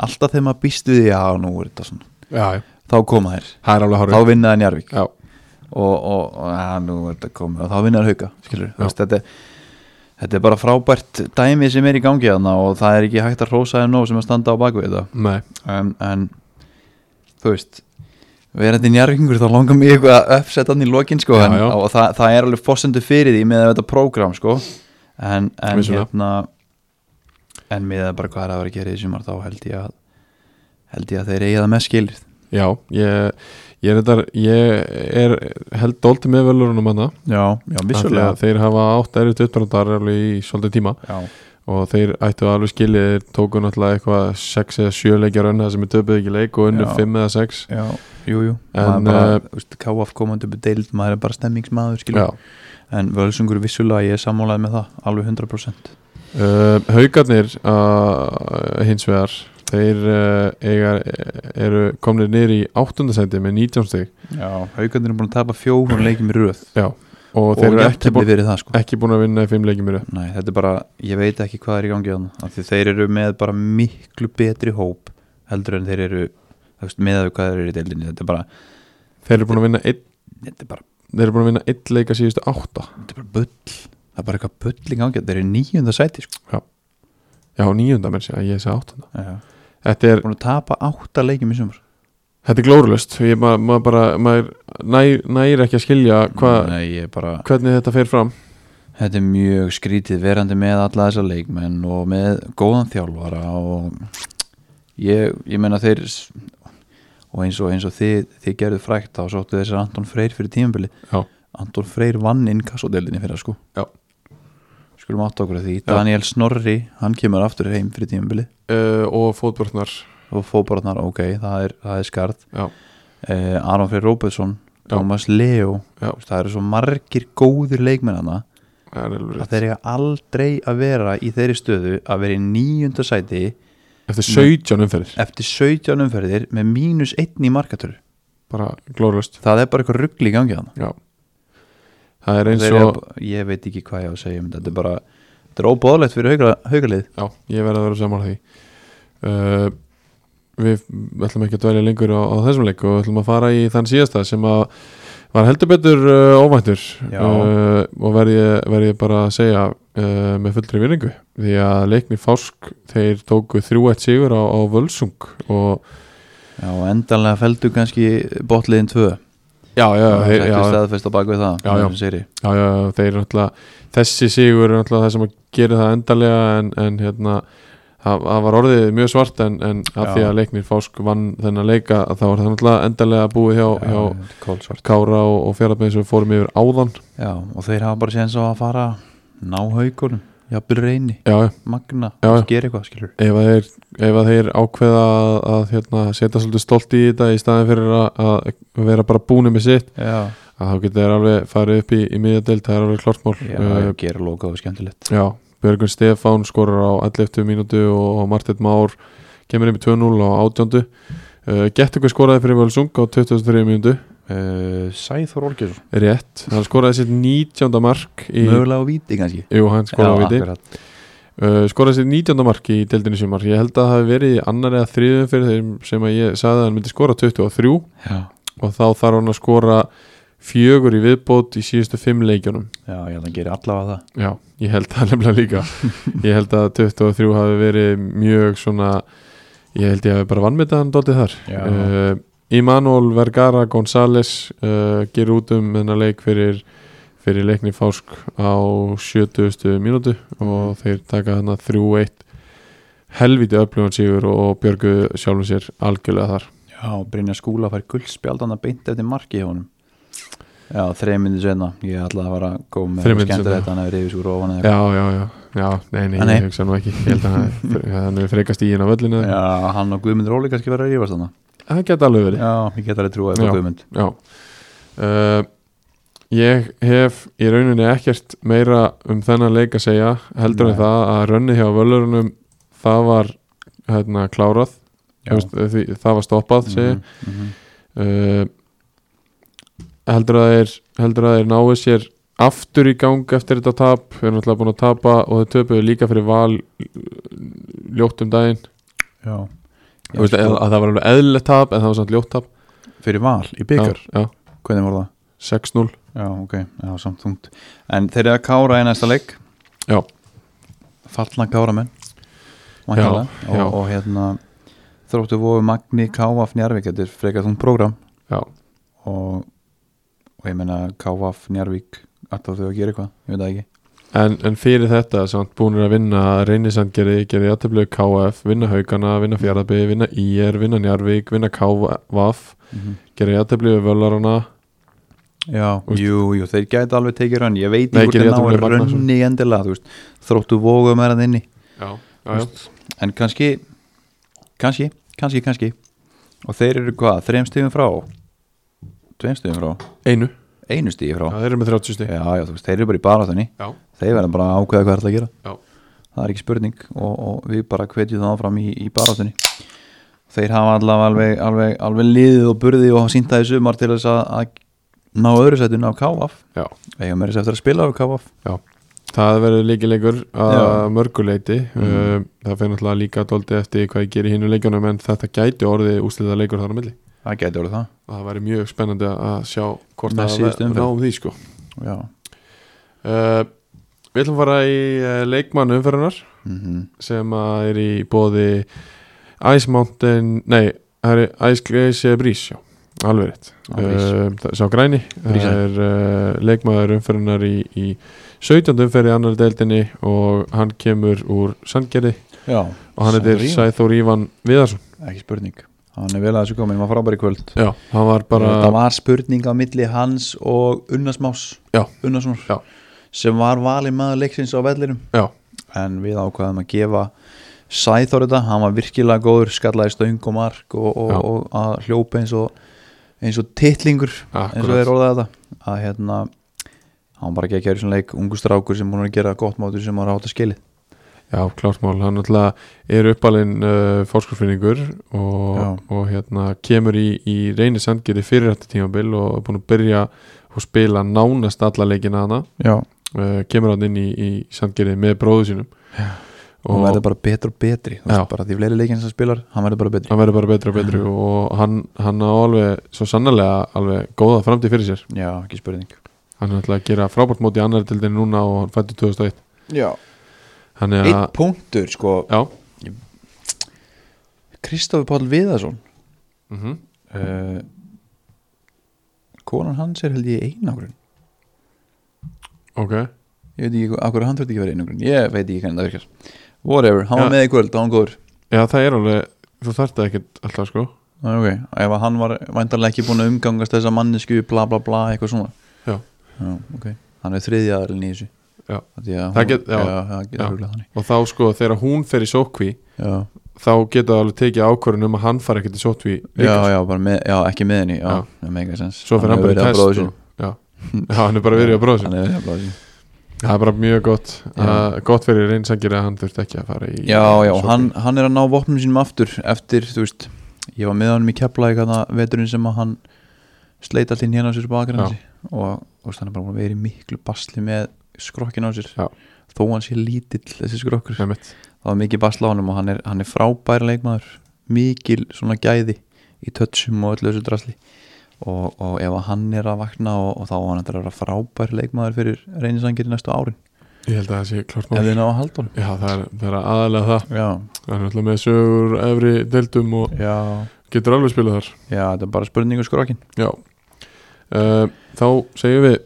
C: alltaf þegar maður býst við því að nú er þetta svona,
B: Já, já.
C: þá koma þær
B: það er alveg
C: þá
B: hárið
C: vinna þær Njarvík
B: Já,
C: og, og, og að, nú er þetta komið og þá vinna þær hauka, skilur
B: Já.
C: veist, þetta, er- þetta er bara frábært dæmi sem er í gangi þarna og það er ekki hægt að hrósa þeim nóg sem að standa á bakvið þetta
B: nei,
C: um, en þú veist verandi njárvingur þá langar mig eitthvað að uppsetta hann í lokin sko
B: Já,
C: en,
B: já.
C: og það, það er alveg fórsendu fyrir því með þetta prógram sko en, en
B: Vissulega.
C: hérna en með það bara hvað er að vera að gera í sumar þá held ég að held ég að þeir eiga það með skilrið
B: já ég, ég, er þetta, ég er held dólti með velurunum hana
C: já, já,
B: af því að þeir hafa átt erut uppbrandar alveg í svolítið tíma
C: já,
B: og þeir ættu alveg skilið þeir tóku náttúrulega eitthvað 6 eða 7 leikjar önna sem er töpuð ekki leik og unnu
C: Já.
B: 5 eða 6
C: já, jú, jú,
B: En,
C: maður bara,
B: eh,
C: uh, veist, KF komandi upp í deild, maður er bara stemmingsmaður skilur,
B: Já.
C: en völsungur vissulega ég er sammálaði með það, alveg 100%
B: Uh, haugarnir uh, hins vegar þeir uh, eigar, eru komnir niður í áttundasæti með 19 stig
C: Já, haugandir er búin að tapa fjórum leikjum í röð
B: og,
C: og,
B: þeir eru ekki,
C: jafntefli
B: bú,
C: fyrir það sko
B: ekki búin að vinna í 5 leikimur
C: Nei, þetta er bara, ég veit ekki hvað er í gangi þannig, af því þeir eru með bara miklu betri hóp heldur en þeir eru þú veist, með að við hvað þeir eru í deildinni þetta er bara,
B: þeir eru búin að vinna einn,
C: þetta er bara,
B: þeir eru búin að vinna einn leika síðustu átta
C: þetta er bara bull það er bara eitthvað bull í gangi, þeir eru í níunda sæti sko.
B: já níunda mér sé að ég sé áttunda
C: Já.
B: þetta er,
C: búin að tapa átta leikjum í sumar
B: þetta er glórulust ég, ma, maður bara, maður næ, nægir ekki að skilja hva,
C: Nei, ég er bara,
B: hvernig þetta fer fram
C: þetta er mjög skrítið verandi með alla þessa leikmenn og með góðan þjálfara og ég, ég meina þeir og eins og, eins og þið, þið gerðu frækt þá sóttu þessar Anton Freyr fyrir tímabili
B: Já.
C: Anton Freyr vann inn kassodeldinni fyrir sko
B: Já.
C: skulum átt okkur að því
B: Já.
C: Daniel Snorri, hann kemur aftur heim fyrir tímabili
B: uh, og fótbrotnar
C: og fóbarnar, ok, það er, það er skarð
B: Já.
C: eh, Aron Freyr Róbesson
B: Já.
C: Thomas Leo
B: Já.
C: það eru svo margir góðir leikmennana
B: það er alveg
C: að
B: rétt.
C: þeir eiga aldrei að vera í þeirri stöðu að vera í níunda sæti
B: eftir 17 umferðir
C: eftir 17 umferðir með mínus einn í markatöru
B: bara glórulust
C: það er bara eitthvað ruggli í gangi þannig
B: já það er eins
C: þeir
B: og
C: eiga, ég veit ekki hvað ég á að segja um þetta þetta er bara, þetta er óbóðlegt fyrir hauga, haugalið
B: Já, ég verði að vera saman því uh, Við ætlum ekki að dvelja lengur á, á þessum leik og ætlum að fara í þann síðasta sem að var heldur betur uh, óvæntur
C: Já.
B: uh, og verð ég, verð ég bara að segja uh, með fullri virðingu því að leikni Fásk þeir tóku 3-1 sigur á, á Völsung og
C: já, og endanlega feldu kannski botliðin 2
B: já, já, þeir, já, já,
C: staðfest á bakvið það
B: Já, já.
C: með þessum sigri.
B: já, já þeir náttúrulega þessi sigur er náttúrulega það sem að gera það endalega en, en hérna það það var orðið mjög svart en, en af
C: Já.
B: því að leiknir Fásk vann þennan leika þá var það náttúrulega endalega búið hjá,
C: já,
B: hjá
C: þetta er kolsvart.
B: Kára og, og Fjarlabæði sem við fórum yfir áðan
C: já, og þeir hafa bara séðan svo að fara ná haugunum, jafnvel reyni
B: já, já,
C: magna,
B: Já, já.
C: gera eitthvað skilur
B: ef að þeir, ef að þeir ákveða að, að hérna, setja svolítið stolt í þetta í staðin fyrir að, að vera bara búinu með sitt
C: já,
B: að þá geta þeir alveg farið upp í, í miðjadeild, það er alveg klart mál
C: já
B: Eh,
C: gera lokaðu skemmtilegt
B: Já, Björgun Stefán skorar á 11. mínútu og Martin Már kemur inn í 2-0 á 18. Uh, Gettingu skoraði fyrir Völsung á 23. mínútu Eh,
C: uh, Sæþór Olgjörn
B: rétt, hann skoraði sitt 19. mark í,
C: mögulega á víti kannski
B: jú, hann skoraði á viti
C: akkurat.
B: uh, skoraði sitt 19. mark í deildinu sumar ég held að það hafi verið í annar eða þriðum fyrir þeim sem að ég sagði að hann myndi skora 23
C: já.
B: og þá þarf hann að skora fjögur í viðbót í síðustu fimm leikjunum
C: já, ég held að hann gerir allavega það
B: Já, ég held það nefnilega líka
C: *laughs*
B: Ég held að 23 hafi verið mjög svona Ég held ég hafi bara vannmetað hann dóttið þar
C: Já.
B: uh, Immanuel Vergara González uh, gerur út um þennan leik fyrir, fyrir leikni Fásk á 70. mínútu
C: Mhm.
B: og þeir taka hann að 3-1 helviti öflugan sigur og björgu sjálfum sér algjörlega þar
C: já, Brynja Skúla fær guldspjaldan að beint eftir marki hjá honum já, þreim minni senna ég ætlaði að fara að góð með
B: Þrem mínútum
C: skemmtilegt
B: seinna.
C: þetta hann hefur reyfis úr ofan eða
B: Já, já, já, já Nei, nei,
C: Ah, nei.
B: ég hugsa nú ekki Ég held að
C: *laughs*
B: hann- hann er frekast í inn á völlinu
C: eitthvað. já, hann og Guðmund Róli kannski verið að reyfast hann
B: Það geta alveg verið
C: já, ég get alveg trúið upp
B: Já.
C: á Guðmund
B: Já uh, Ég hef í rauninni ekkert meira um þennan leik að segja heldur en
C: Nei.
B: það að rönnið hjá völurunum það var hérna klárað
C: Já.
B: Hefst, því, það var stoppað segi mm
C: mhm.
B: heldur að þeir heldur að þeir náu sér aftur í gang eftir þetta tap þeir eru náttúrulega búin að tapa og þeir töpuðu líka fyrir val ljótt um daginn
C: já,
B: Þú veist,
C: já
B: að,
C: sko,
B: að það var alveg eðlilegt tap en það var samt ljótt tap
C: fyrir val í byggar,
B: já, já,
C: hvernig voru það
B: 6-0
C: já, ok, já, samt þungt en þeir eru að kára í næsta leik
B: Já.
C: fallna káramenn væntanlega.
B: Já, já.
C: og, og hérna þróttu vofu Magni Kávaf Njarvík þetta er frekar þungt prógram
B: já,
C: og, og ég meina Kávaf Njarvík alltaf þau að gera eitthvað, ég veit það ekki
B: En, en fyrir þetta samt búinir að vinna reynisandgerði, gerði jættablu KF, vinna Haugana, vinna Fjarabi, vinna IR, vinna Njarvík, vinna KVAF,
C: Mhm.
B: gerði jættablu Völarana,
C: já,
B: Úst.
C: jú, jú, þeir gæti alveg tekið rönni ég veit
B: Nei,
C: ekki hvort
B: gera
C: þeir
B: jafntefli
C: náir
B: Magnason.
C: rönni endilega þú veist, þróttu vofu með hann inni
B: já,
C: já. en kannski kannski, kannski, kannski og þeir eru hvað, þreim stífum frá tveim stífum frá,
B: einu,
C: einu stífi frá
B: já, þeir eru með 30 stig
C: já, já, þú veist, þeir eru bara í baráttunni
B: já,
C: þeir verða bara að ákveða hvað er það að gera
B: já,
C: það er ekki spurning og, og við bara hvetjum það áfram í, í baráttunni þeir hafa allavega alveg, alveg, alveg liðið og burðið og hafa sínt það í sumar til þess að, að ná öðru sætun á KF
B: já,
C: eiga mér þess eftir að spila á KF
B: já. það verður leikilegur að
C: Já. Mhm.
B: mörguleiti mm. það fyrir náttúrulega líka dóldi eftir hvað ég gerir hinn leikjunum en þetta gæti orðið úslita leikur þar á milli
C: það gæti orðið það
B: og það væri mjög spennandi að sjá hvort
C: Með
B: að
C: síðustu
B: við
C: umferð.
B: náum því sko
C: já,
B: uh, Við ætlum að fara í uh, leikmann umferðunar
C: mm
B: sem að er í bóði Ice Mountain, nei það er Ice Glacier Breeze, já alveg rétt,
C: Já,
B: uh, það- sá græni það
C: Breeze.
B: er uh, leikmaður umferðunar í, í 17. umferð í annar deildinni og hann kemur úr Sandgerði
C: já
B: og hann heitir
C: Sæður Ívar.
B: Sæþór Ívan Viðarsson
C: ekki spurning hann er vel að þessu komið, hann var frábær í kvöld
B: Já, hann var bara
C: það var spurning á milli hans og Unnarsmás
B: Já.
C: Unnarsmár
B: Já.
C: sem var valið maður leiksins á vellinum
B: Já.
C: en við ákvaðum að gefa Sæþór þetta, hann var virkilega góður skallaði stöng og mark og, og,
B: Já.
C: og að hljópa eins og eins og titlingur eins og þeir
B: akkurat,
C: orðaði þetta að hérna hann var bara ekki að gera svona leik ungu strákur sem búin að gera gott mátur sem var átt að skilið
B: já, klártmál hann alltaf er uppalinn uh, fórskursfinningur
C: Já.
B: og, og hérna kemur í, í reyni sandgeri fyrir þetta tímabil og er búin að byrja og spila nánast alla leikina hana
C: Já.
B: uh, kemur hann inn í, í sandgeri með bróðu sínum
C: hann verður bara betri og betri Þú
B: Já.
C: veist, bara því fleiri leikinn sem hann spilar, hann verður bara betri
B: hann verður bara betri og betri og hann, hann á alveg svo sannarlega alveg góða framtíð fyrir sér
C: Já, ekki spurning
B: hann er alltaf að gera frábært móti annar dildin núna og hann fættu 2001
C: Já.
B: hann er
C: Eitt
B: að,
C: punktur sko
B: já
C: Kristofur Páll Viðarsson
B: mm
C: uh, konan hans er held ég einangrun
B: ok,
C: ég veit ekki akkur hann þurfti ekki að vera einangrun ég veit ekki hvernig það virkar whatever, hann var
B: Já.
C: með í kvöld, hann var góður
B: já það er alveg þú þarft það ekkert alltaf sko
C: Æ, ok, ef að hann var væntanlega ekki búin að umgangast þessa mannesku bla bla bla eitthvað svona
B: Já.
C: já ok, hann er þriðja aðurinn í þessu
B: Já.
C: Af því að
B: Það
C: hún-
B: get- já.
C: já, það
B: Já.
C: getur huglega þannig
B: og þá sko þegar hún fer í sótkví
C: já,
B: þá getur það alveg tekið ákvörðun um að hann fari ekkert í sótkví
C: já,
B: líka, sko.
C: já, bara með, já, ekki með henni já,
B: Já.
C: já. mega sens
B: svo fer hann bara í test og, já. já, hann er bara verið að bróða sér
C: hann er verið að bróða sín
B: það er bara mjög gott
C: Já.
B: uh, gott fyrir reynsangir að hann þurft ekki að fara í
C: Já, já,
B: sóttkví.
C: hann, hann er að ná vopnum sínum aftur eftir, þú veist, ég var með honum í keflaði hana veturinn sem að hann sleit allt inn hérna á sér bakar hans og þú veist, hann er bara búin að vera í miklu basli með skrokkin á sér
B: Já.
C: þó hann sé lítill þessi skrokkur
B: Einmitt.
C: það var mikið basla á honum og hann er, hann er frábær leikmaður mikil svona gæði í tötsum og öllu þessu drasli og, og ef að hann er að vakna og, og þá á hann eftir að vera frábær leikmaður fyrir reynisangir næstu árin
B: ég held að það sé klart
C: ef
B: mál
C: þið ná að halda honum
B: já, það er, það er aðalega það
C: Já,
B: hann er alltaf með sögur efri deildum og
C: já,
B: getur alveg spilað þar
C: já, þetta er bara spurningu skrokkin
B: já uh, þá segjum við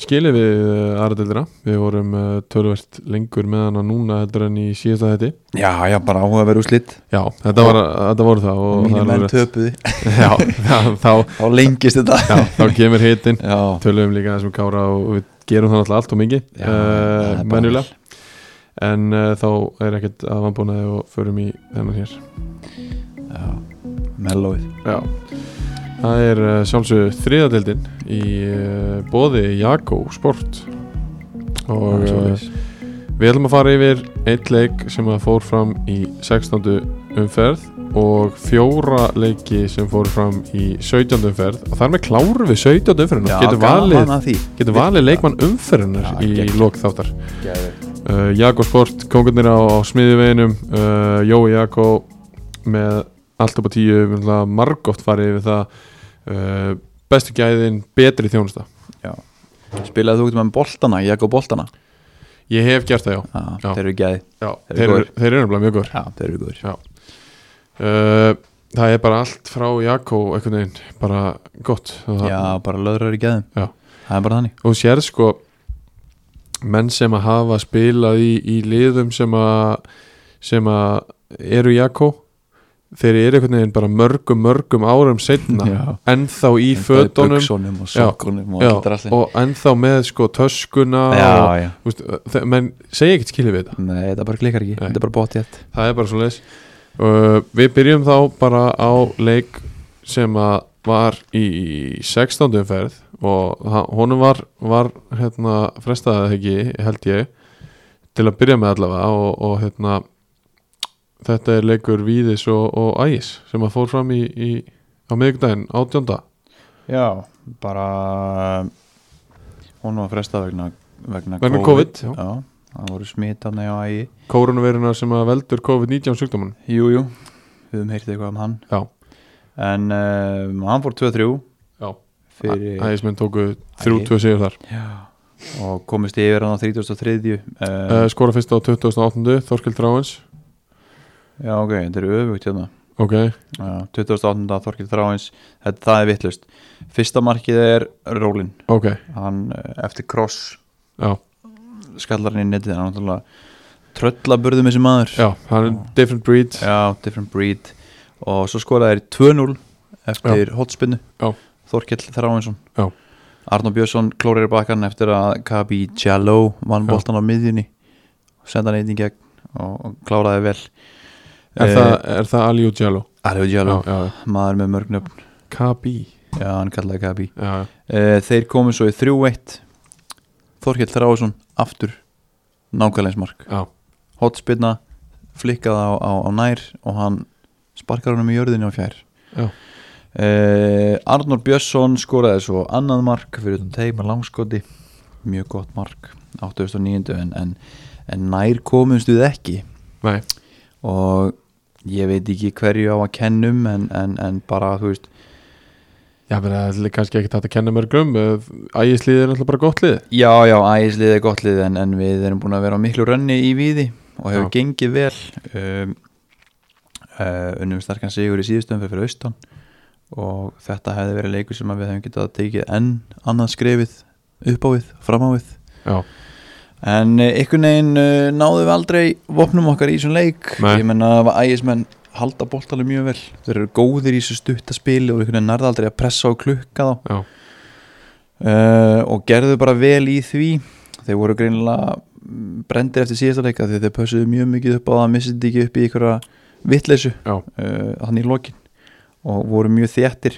B: skilið við uh, aðra deildina við vorum uh, tölvert lengur með hana núna heldur en í síðasta þetta
C: Já, já, bara áhuga að vera úr slitt
B: Já, þetta, var, þetta voru það og
C: Mínir
B: það er
C: menn
B: alveg rétt.
C: töpuði
B: Já, þá- þá,
C: *laughs* Þá lengist þetta
B: já, þá kemur hitin
C: Já,
B: Tölum líka þessum kára og við gerum það alltaf allt og mikið
C: Já, það
B: uh,
C: er bara
B: Menjulega En uh, þá er ekkert að vannbúnaði og förum í þennan hér
C: já Mellóið
B: Já Það er uh, sjálfsög þriðadeldin í uh, bóði Jakó Sport og uh, Við ætlum að fara yfir eitt leik sem að fór fram í 16. umferð og fjóra leiki sem fór fram í 17. umferð og þar með kláru við 17. umferðina getur valið,
C: að því
B: getur valið leikmann umferðinar
C: Já,
B: í
C: geggjað.
B: lok þáttar uh, Jakob Sport, kongurnir á, á smiðiveginum uh, Jói Jakó með allt upp á tíu margótt farið við það uh, bestu gæðin, betri þjónusta
C: Spilaði þú getur með boltana, Jakob boltana
B: ég hef gert það já,
C: Já,
B: Já.
C: þeir eru gæði
B: já
C: Þeir eru
B: þeir, eru-
C: góðir.
B: þeir eru nefnilega mjög góður
C: Já, þeir eru góður
B: Uh, það er bara allt frá Jakko einhvern veginn, bara gott og, það-
C: Já, bara löðrar í gæðum
B: Já.
C: Það er bara þannig
B: og þú sér sko menn sem að hafa spilað í, í liðum sem að sem að eru Jakko þeir eru einhvern veginn bara mörgum mörgum árum setna
C: Já.
B: ennþá í
C: Endaði
B: fötunum
C: buxunum og
B: Já.
C: sokkunum og
B: já,
C: allt drasli
B: og ennþá með sko töskuna og,
C: Já, já
B: þú veist, þe- menn segja ekkert skilið við þetta
C: Nei, þetta bara klikkar ekki,
B: Nei.
C: þetta er bara bótt jætt
B: það er bara svo leis uh, við byrjum þá bara á leik sem að var í 16. ferð og ha- honum var, var hérna, frestaði ekki held ég til að byrja með allavega og, og hérna þetta er leikur Víðis og, og Ægis sem að fór fram í, í á miðvikudaginn 18.
C: Já, bara hún var frestað vegna vegna,
B: Vegna COVID,
C: já.
B: já.
C: það voru smitana á ægi
B: koronaviruna sem að veldur COVID-19 sjúkdóman
C: Jú, jú, við höfum heyrtið eitthvað um hann
B: Já.
C: En um, hann fór 2-3
B: Já.
C: fyrir
B: Ægismenn tóku
C: Ægir.
B: 3-2 sigur þar
C: já, og komist yfir hann á 33 uh,
B: uh, skora fyrst á 2008. Þorkild Dráins
C: Já, ok, þetta er öfugt hérna
B: ok,
C: Já, 2008. Þorkil Þráins þetta, það er vittlust Fyrsta markið er Rólin
B: ok,
C: hann eh, eftir cross
B: já,
C: skallar hann í netið hann er náttúrulega tröllaburðum þessi maður
B: já hann er different breed
C: Já, different breed og svo skoraði þeir 2-0 eftir hotspinnu
B: Já.
C: Þorkell Þráinsson
B: Já.
C: Arnó Björnsson klórir bakkan eftir að Kabi Jallo vann
B: Já.
C: boltan á miðjunni og senda hann einn í gegn og, og kláraði vel
B: er, það,
C: Eh,
B: er það Aliu Jallo?
C: Arjó
B: Já,
C: Jallo,
B: já, já.
C: maður með mörg nöfn
B: KB
C: Já, hann kallaði Kabi
B: já, já.
C: uh, Þeir komu svo í 3-1 Þorkell Þráinsson aftur nákvæmleinsmark
B: já,
C: hotspinna flikkaði á, á, á nær og hann sparkar honum í jörðinni á fjær
B: Já.
C: Eh, Arnór Björnsson skoraði svo annað mark fyrir teima langskoti mjög gott mark 89. en, en, en nær komumst við ekki
B: nei,
C: og ég veit ekki hverju á að kennum en, en, en bara þú veist
B: já, menn það er kannski ekki þetta að kenna mörgum eh, Ægislið er alltaf bara gott lið
C: já já ægislið er gott lið en, en við erum búin að vera á miklu rönni í víði og hefur
B: Já.
C: gengið vel um, uh, unnum starkan sigur í síðustum fyrir, fyrir austan og þetta hefði verið leikur sem að við hefum getað tekið enn annað skrefið upp á við, fram á við
B: já,
C: en uh, einhvern veginn uh, náðum við aldrei vopnum okkar í þessum leik
B: Nei.
C: ég menna að ægismenn halda boltalið mjög vel þeir eru góðir í þessu stuttaspili og einhvern veginn nærða aldrei að pressa og klukka þá
B: já,
C: uh, og gerðu bara vel í því þeir voru greinilega mm, brendir eftir síðasta leika því þeir pössuðu mjög mikið upp á það að missa þetta ekki upp í einhverja vitleysu
B: Já.
C: uh, þannig í lokin og voru mjög þéttir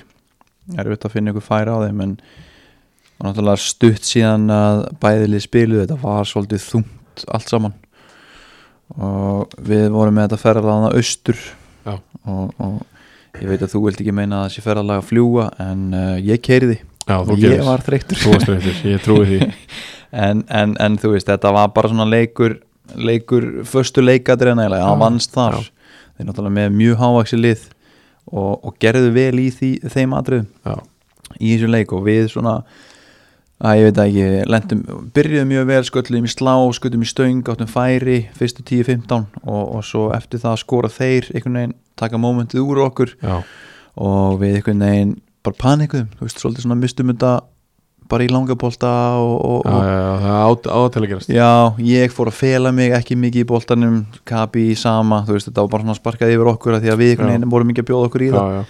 C: erfitt að finna einhver færa á þeim en og náttúrulega stutt síðan að bæðilið spiluðu þetta var svolítið þungt allt saman og við vorum með þetta ferðalaðna austur
B: Já.
C: og, og ég veit að þú vilt ekki meina að þessi ferðalag að fljúa en uh, ég keiriði
B: já, þú
C: ég
B: gerir
C: var þreyttur
B: þú varst reyndis, ég trúi því
C: en, en, en þú veist, þetta var bara svona leikur leikur, föstu leikadreina eiginlega, hann vannst þar
B: já.
C: þeir náttúrulega með mjög hávaksi lið og, og gerðu vel í því, þeim atriðum
B: já,
C: í þessu leik og við svona að ég veit það ekki, lentum, byrjuðum mjög vel sköllum í slá, sköllum í stöng áttum færi, fyrstu 10-15 og, og svo eftir það skora þeir einhvern veginn, taka mómentið úr okkur
B: já,
C: og við einhvern veginn bara panikuðum, þú veist, svolítið svona mistum þetta bara í langabólta og, og,
B: já,
C: og
B: já, já það át, átel að gerast
C: Já, ég fór að fela mig ekki mikið í boltanum, Kabi í sama þú veist, þetta var bara svona sparkað yfir okkur að því að við einhvern
B: Já.
C: veginn vorum ekki að bjóða okkur í
B: já,
C: það
B: já,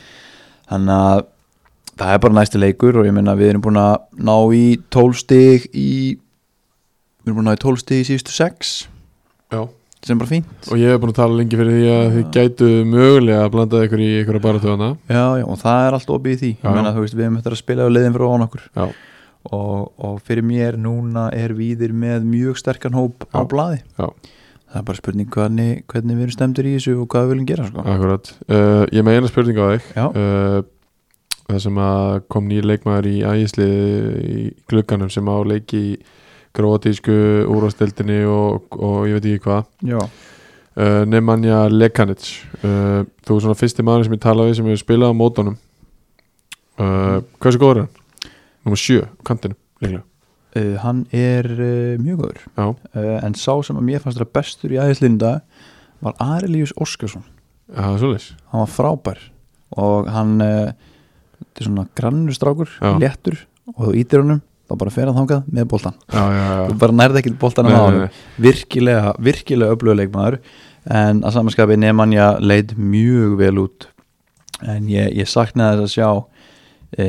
C: þannig að það er bara næsti leikur og ég meina við erum búin að ná í 12 stig í við erum búin að ná í 12 stig í síðustu 6
B: já
C: sem er bara fínt
B: og ég hef búin að tala lengi fyrir því að þið gætu mögulega að blanda ykkur í ykkur að baratöðana
C: já, já, og það er allt opið í því
B: Já.
C: ég meina þú veist, við erum eftir að spila á leiðin fyrir án okkur
B: já,
C: og, og fyrir mér núna er viðir með mjög sterkan hóp á
B: Já.
C: blaði
B: Já.
C: það er bara spurning hvernig, hvernig við erum stemdur í þessu og hvað við viljum gera sko.
B: akkurat uh, ég með eina spurningu á þig
C: Já.
B: uh, það sem að kom nýr leikmaður í ægisli í glugganum sem á leiki í gróatísku úrvasteldinni og, og ég veit ekki hvað
C: Já,
B: uh, Nemanja Lekanic uh, þú er svona fyrsti maður sem ég talaði við sem hefur spilað á mótunum uh, hversu góður er hann? Númer 7, kantinu líklega.
C: uh, hann er uh, mjög góður
B: Já.
C: uh, en sá sem að mér fannst vera bestur í æðislinda var Arilíus Óskarsson
B: Já, það er svoleiðis
C: hann var frábær og hann uh, þetta er svona grannur strákur,
B: Já.
C: léttur og þú ítir honum, þá bara fer hann þangað með boltan
B: Já, já, já.
C: þú bara nærði ekki boltan
B: Nei,
C: að
B: nei,
C: hann virkilega, virkilega öfluguleikmaður en að samanskapi Nemanja leit mjög vel út en ég, ég saknaði þess að sjá e,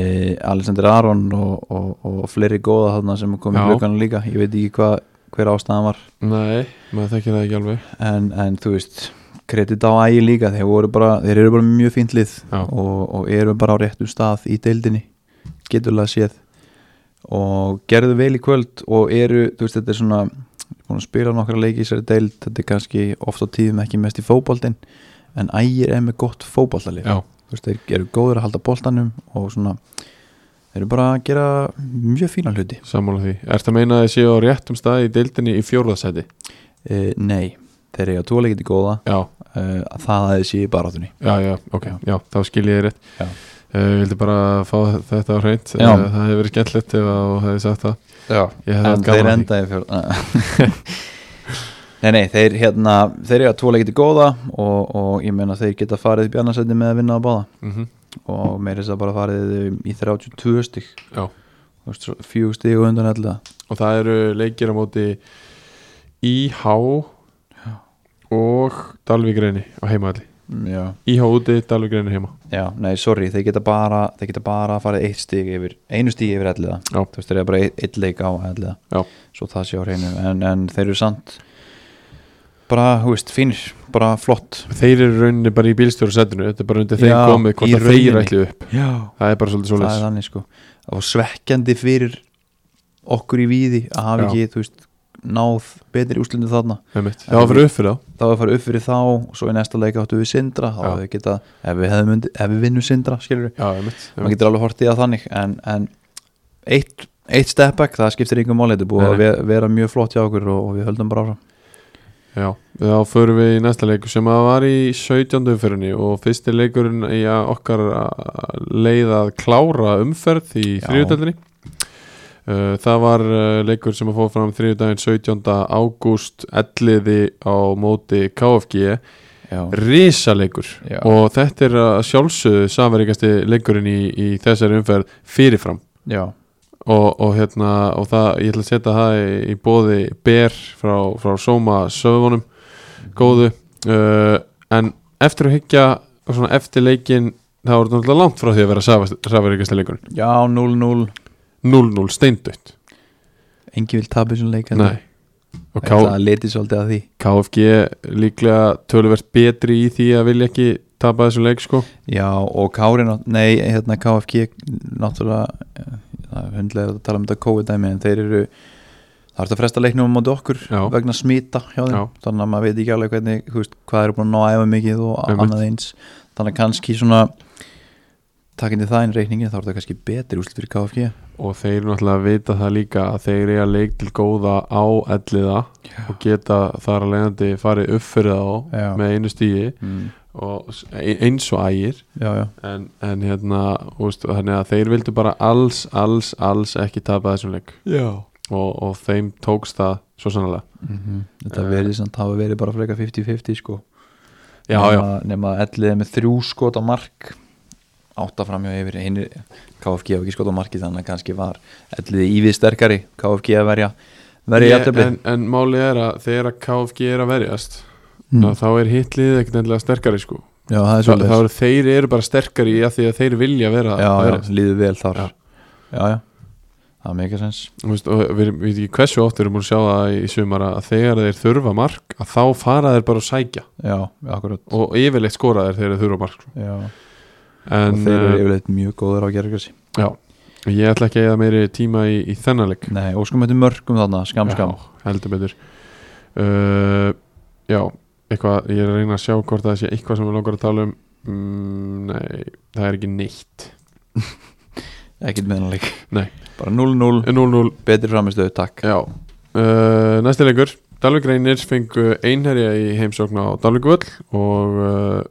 C: Alexander Aron og, og, og fleiri góða þarna sem kom í
B: Já.
C: glögganu líka ég veit ekki hva, hver ástæðan var
B: Nei, maður þekkir það ekki alveg
C: en, en þú veist kredit á ægi líka þeir, voru bara, þeir eru bara mjög fínt lið
B: Já.
C: og, og eru bara á réttum stað í deildinni geturlega séð og gerðu vel í kvöld og eru, þú veist, þetta er svona ég er búin að spila nokkra leiki í sér deild þetta er kannski oft á tíðum ekki mest í fótboltin en ægir er með gott fótboltalið
B: Já,
C: þú veist, þeir eru góður að halda boltanum og svona þeir eru bara að gera mjög fína hluti
B: sammála því Ertu að meina að þið séu á réttum stað í deildinni í fjórðasæti?
C: e, nei, þeir eiga tóleikið til góða
B: Já,
C: e, að það að þeir séu bara áttunni
B: já, já, ok,
C: Já.
B: já, þá skil ég þið rétt
C: Já.
B: Eh, Ég vildi bara fá þetta á hreint
C: Já.
B: Eh, Það hefur verið skemmtilegt ef að þú hefði sagt það
C: Já,
B: Ég hefði
C: en
B: haft
C: þeir
B: gaman að því
C: endaði fjör *laughs* Nei, nei, þeir hérna þeir eru að tóla getið góða og, og ég meina þeir geta farið í bjarnasæti með að vinna á báða
B: Mhm,
C: og meira þess að bara farið í 32 stig
B: Já,
C: Þú veist, svo fjögur stig og undan allega
B: og það eru leikir á móti IH og Dalvíkreini á heimaðli
C: Já,
B: IH úti, Dalvíkreini heima
C: já, nei, sorry, þeir geta bara þeir geta bara farið eitt stig yfir einu stig yfir allega,
B: Já.
C: þú veist, þeir eru bara eitt, eitt leik á allega,
B: Já.
C: svo það sé á hreinu en, en þeir eru samt bara, hú veist, fínir, bara flott
B: Þeir eru í rauninni bara í bílstjóru setinu Þetta er bara undir þeim
C: Já,
B: komið
C: í
B: hvort að þeir
C: rauninni.
B: ætlu upp
C: Já,
B: Það er bara svolítið
C: það er
B: svolítið
C: þannig sko það var svekkjandi fyrir okkur í víði að hafa
B: Já.
C: ekki þú veist, náð betri úrslutin þarna
B: Það var fyrir upp fyrir þá
C: þá var að fara upp fyrir þá og svo í næsta leika áttu við Sindra þá
B: Já.
C: hefði geta, ef við, hefðum undi, ef við vinnum Sindra skilur við,
B: Já, einmitt,
C: maður getur alveg hortið að þannig en, en eitt, eitt step back það skiptir yngur máli, þetta er búið
B: Nei,
C: að ve- vera mjög flott hjá okkur og, og við höldum bara áfram
B: Já, þá förum við í næsta leiku sem að var í 17. umferðinni og fyrsti leikurinn í að okkar að leiða að klára umferð í
C: Já.
B: þriðutöldinni Það var uh, leikur sem að fóð fram þriðudaginn 17. ágúst elliði á móti KFG
C: Já,
B: Rísaleikur
C: Já.
B: og þetta er að sjálfsögðu samverikasti leikurinn í, í þessari umferð fyrirfram
C: já,
B: og, og hérna og það, ég ætla að setja það í, í bóði ber frá, frá Soma söfunum góðu uh, en eftir að hyggja og svona eftir leikin það voru náttúrulega langt frá því að vera safaríkasta leikur
C: já, 0-0
B: 0-0 steindutt
C: engin vil tapa þessum leik
B: Nei. og K
C: það leti svolítið að því
B: KFG líklega töluvert betri í því að vilja ekki tapa þessu leik sko
C: Já og Kári nátt- Nei, hérna KFG Náttúrulega eh, Það er hundlega að tala um þetta COVID-dæmi En þeir eru Það er þetta að fresta leiknum á móti okkur
B: Já.
C: Vegna smita hjá þeim
B: Já.
C: Þannig að maður veit ekki alveg hvernig þú veist, Hvað eru búin að ná að æfa mikið og
B: Einmitt.
C: annað eins Þannig að kannski svona Takkindi það inn reikningin Þá er þetta kannski betri úslit fyrir KFG
B: og þeir náttúrulega vita það líka að þeir eiga leik til góða á elliða og geta þar að leiðandi farið upp fyrir þá
C: Já.
B: með einu stíi
C: mm.
B: og s- e- eins og ægir
C: Já, já,
B: en, en hérna úst, þannig að þeir vildu bara alls, alls, alls ekki tapa þessum leik
A: Já.
B: og, og þeim tókst það svo sannlega
C: mm Þetta
B: Eh.
C: verið samt hafa verið bara fleika 50-50 sko
B: já, já,
C: nema, nema elliðið með þrjú skot á mark átta framjá yfir einu KFG hafa ekki skot á marki þannig að kannski var elliðið ívið sterkari KFG að verja verja
B: Ég-
C: jættubli
B: en, en málið er að þegar að KFG er að verjast
C: mm.
B: mm. þá er hitlið ekkert endilega sterkari sko
C: já það er
B: þá, þá
C: svolítið
B: eru þeir eru bara sterkari að því að þeir vilja vera
C: já,
B: að
C: já,
B: verjast.
C: líður vel þar
B: Já.
C: já, já, það er mikið sens
B: Þú veist, og við við veitum ekki hversu oft við erum búin að sjá það í sumar að þegar þeir þurfa mark að þá fara þeir bara að sækja
C: já, akkurat
B: og yfirleitt skora þeir þegar þeir þurfa mark sko.
C: já.
B: en,
C: og þeir eru
B: eh,
C: yfirleitt mjög góður á að gera græsi
B: Já, ég ætla ekki að eða meiri tíma í, í þennanleik
C: nei, og sko möttum mörgum þarna, skam, skam
B: heldur betur uh, Já, eitthvað ég er að reyna að sjá hvort það sé eitthvað sem við langar að tala um mm, Nei, það er ekki neitt
C: ekkit meðanleik
B: Nei.
C: bara 0-0,
B: 0-0,
C: betri framistöðu, takk
B: já uh, Næsti leikur, Dalvik Reynir fengu einherja í heimsókn á Dalvikvöll og uh,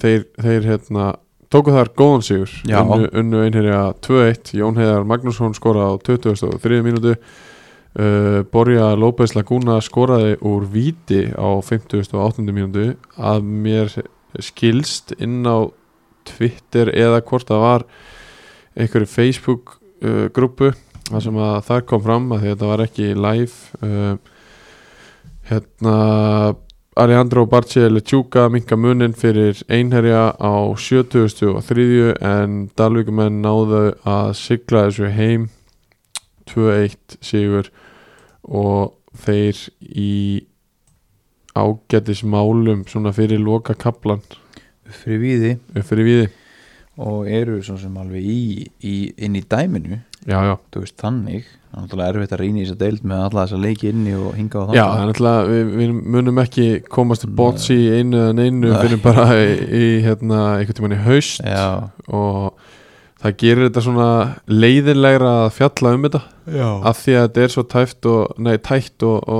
B: þeir, þeir hérna tóku þar góðan sigur
C: Já.
B: unnu, unnu einherja 2-1 Jón Heiðar Magnússon skoraði á 23 mínútu uh, Borja López Laguna skoraði úr víti á 58 mínútu að mér skilst inn á Twitter eða hvort það var einhverju Facebook uh, grúpu þar sem að það kom fram að því að þetta var ekki live uh, hérna Alejandro Barcel Tjúka minka munin fyrir einherja á 73 en Dalvíkumenn náðu að sigla þessu heim 2-1 sigur og þeir í ágætis málum svona fyrir loka kaplan
C: upp fyrir víði
B: upp fyrir viði
C: og eru svo sem alveg í, í inn í dæminu,
B: já, já.
C: þú veist þannig það er náttúrulega erfitt að rýna í þess að deild með alla þess að leiki inni og hinga á það
B: já, þannig að við, við munum ekki komast til bots í einu eða neinu
C: Nei.
B: fyrir bara í, í hérna, einhvern tímann í haust og það gerir þetta svona leiðinlegra að fjalla um þetta
C: já.
B: af því að þetta er svo tæft og, nei, tætt og,
C: Mhm.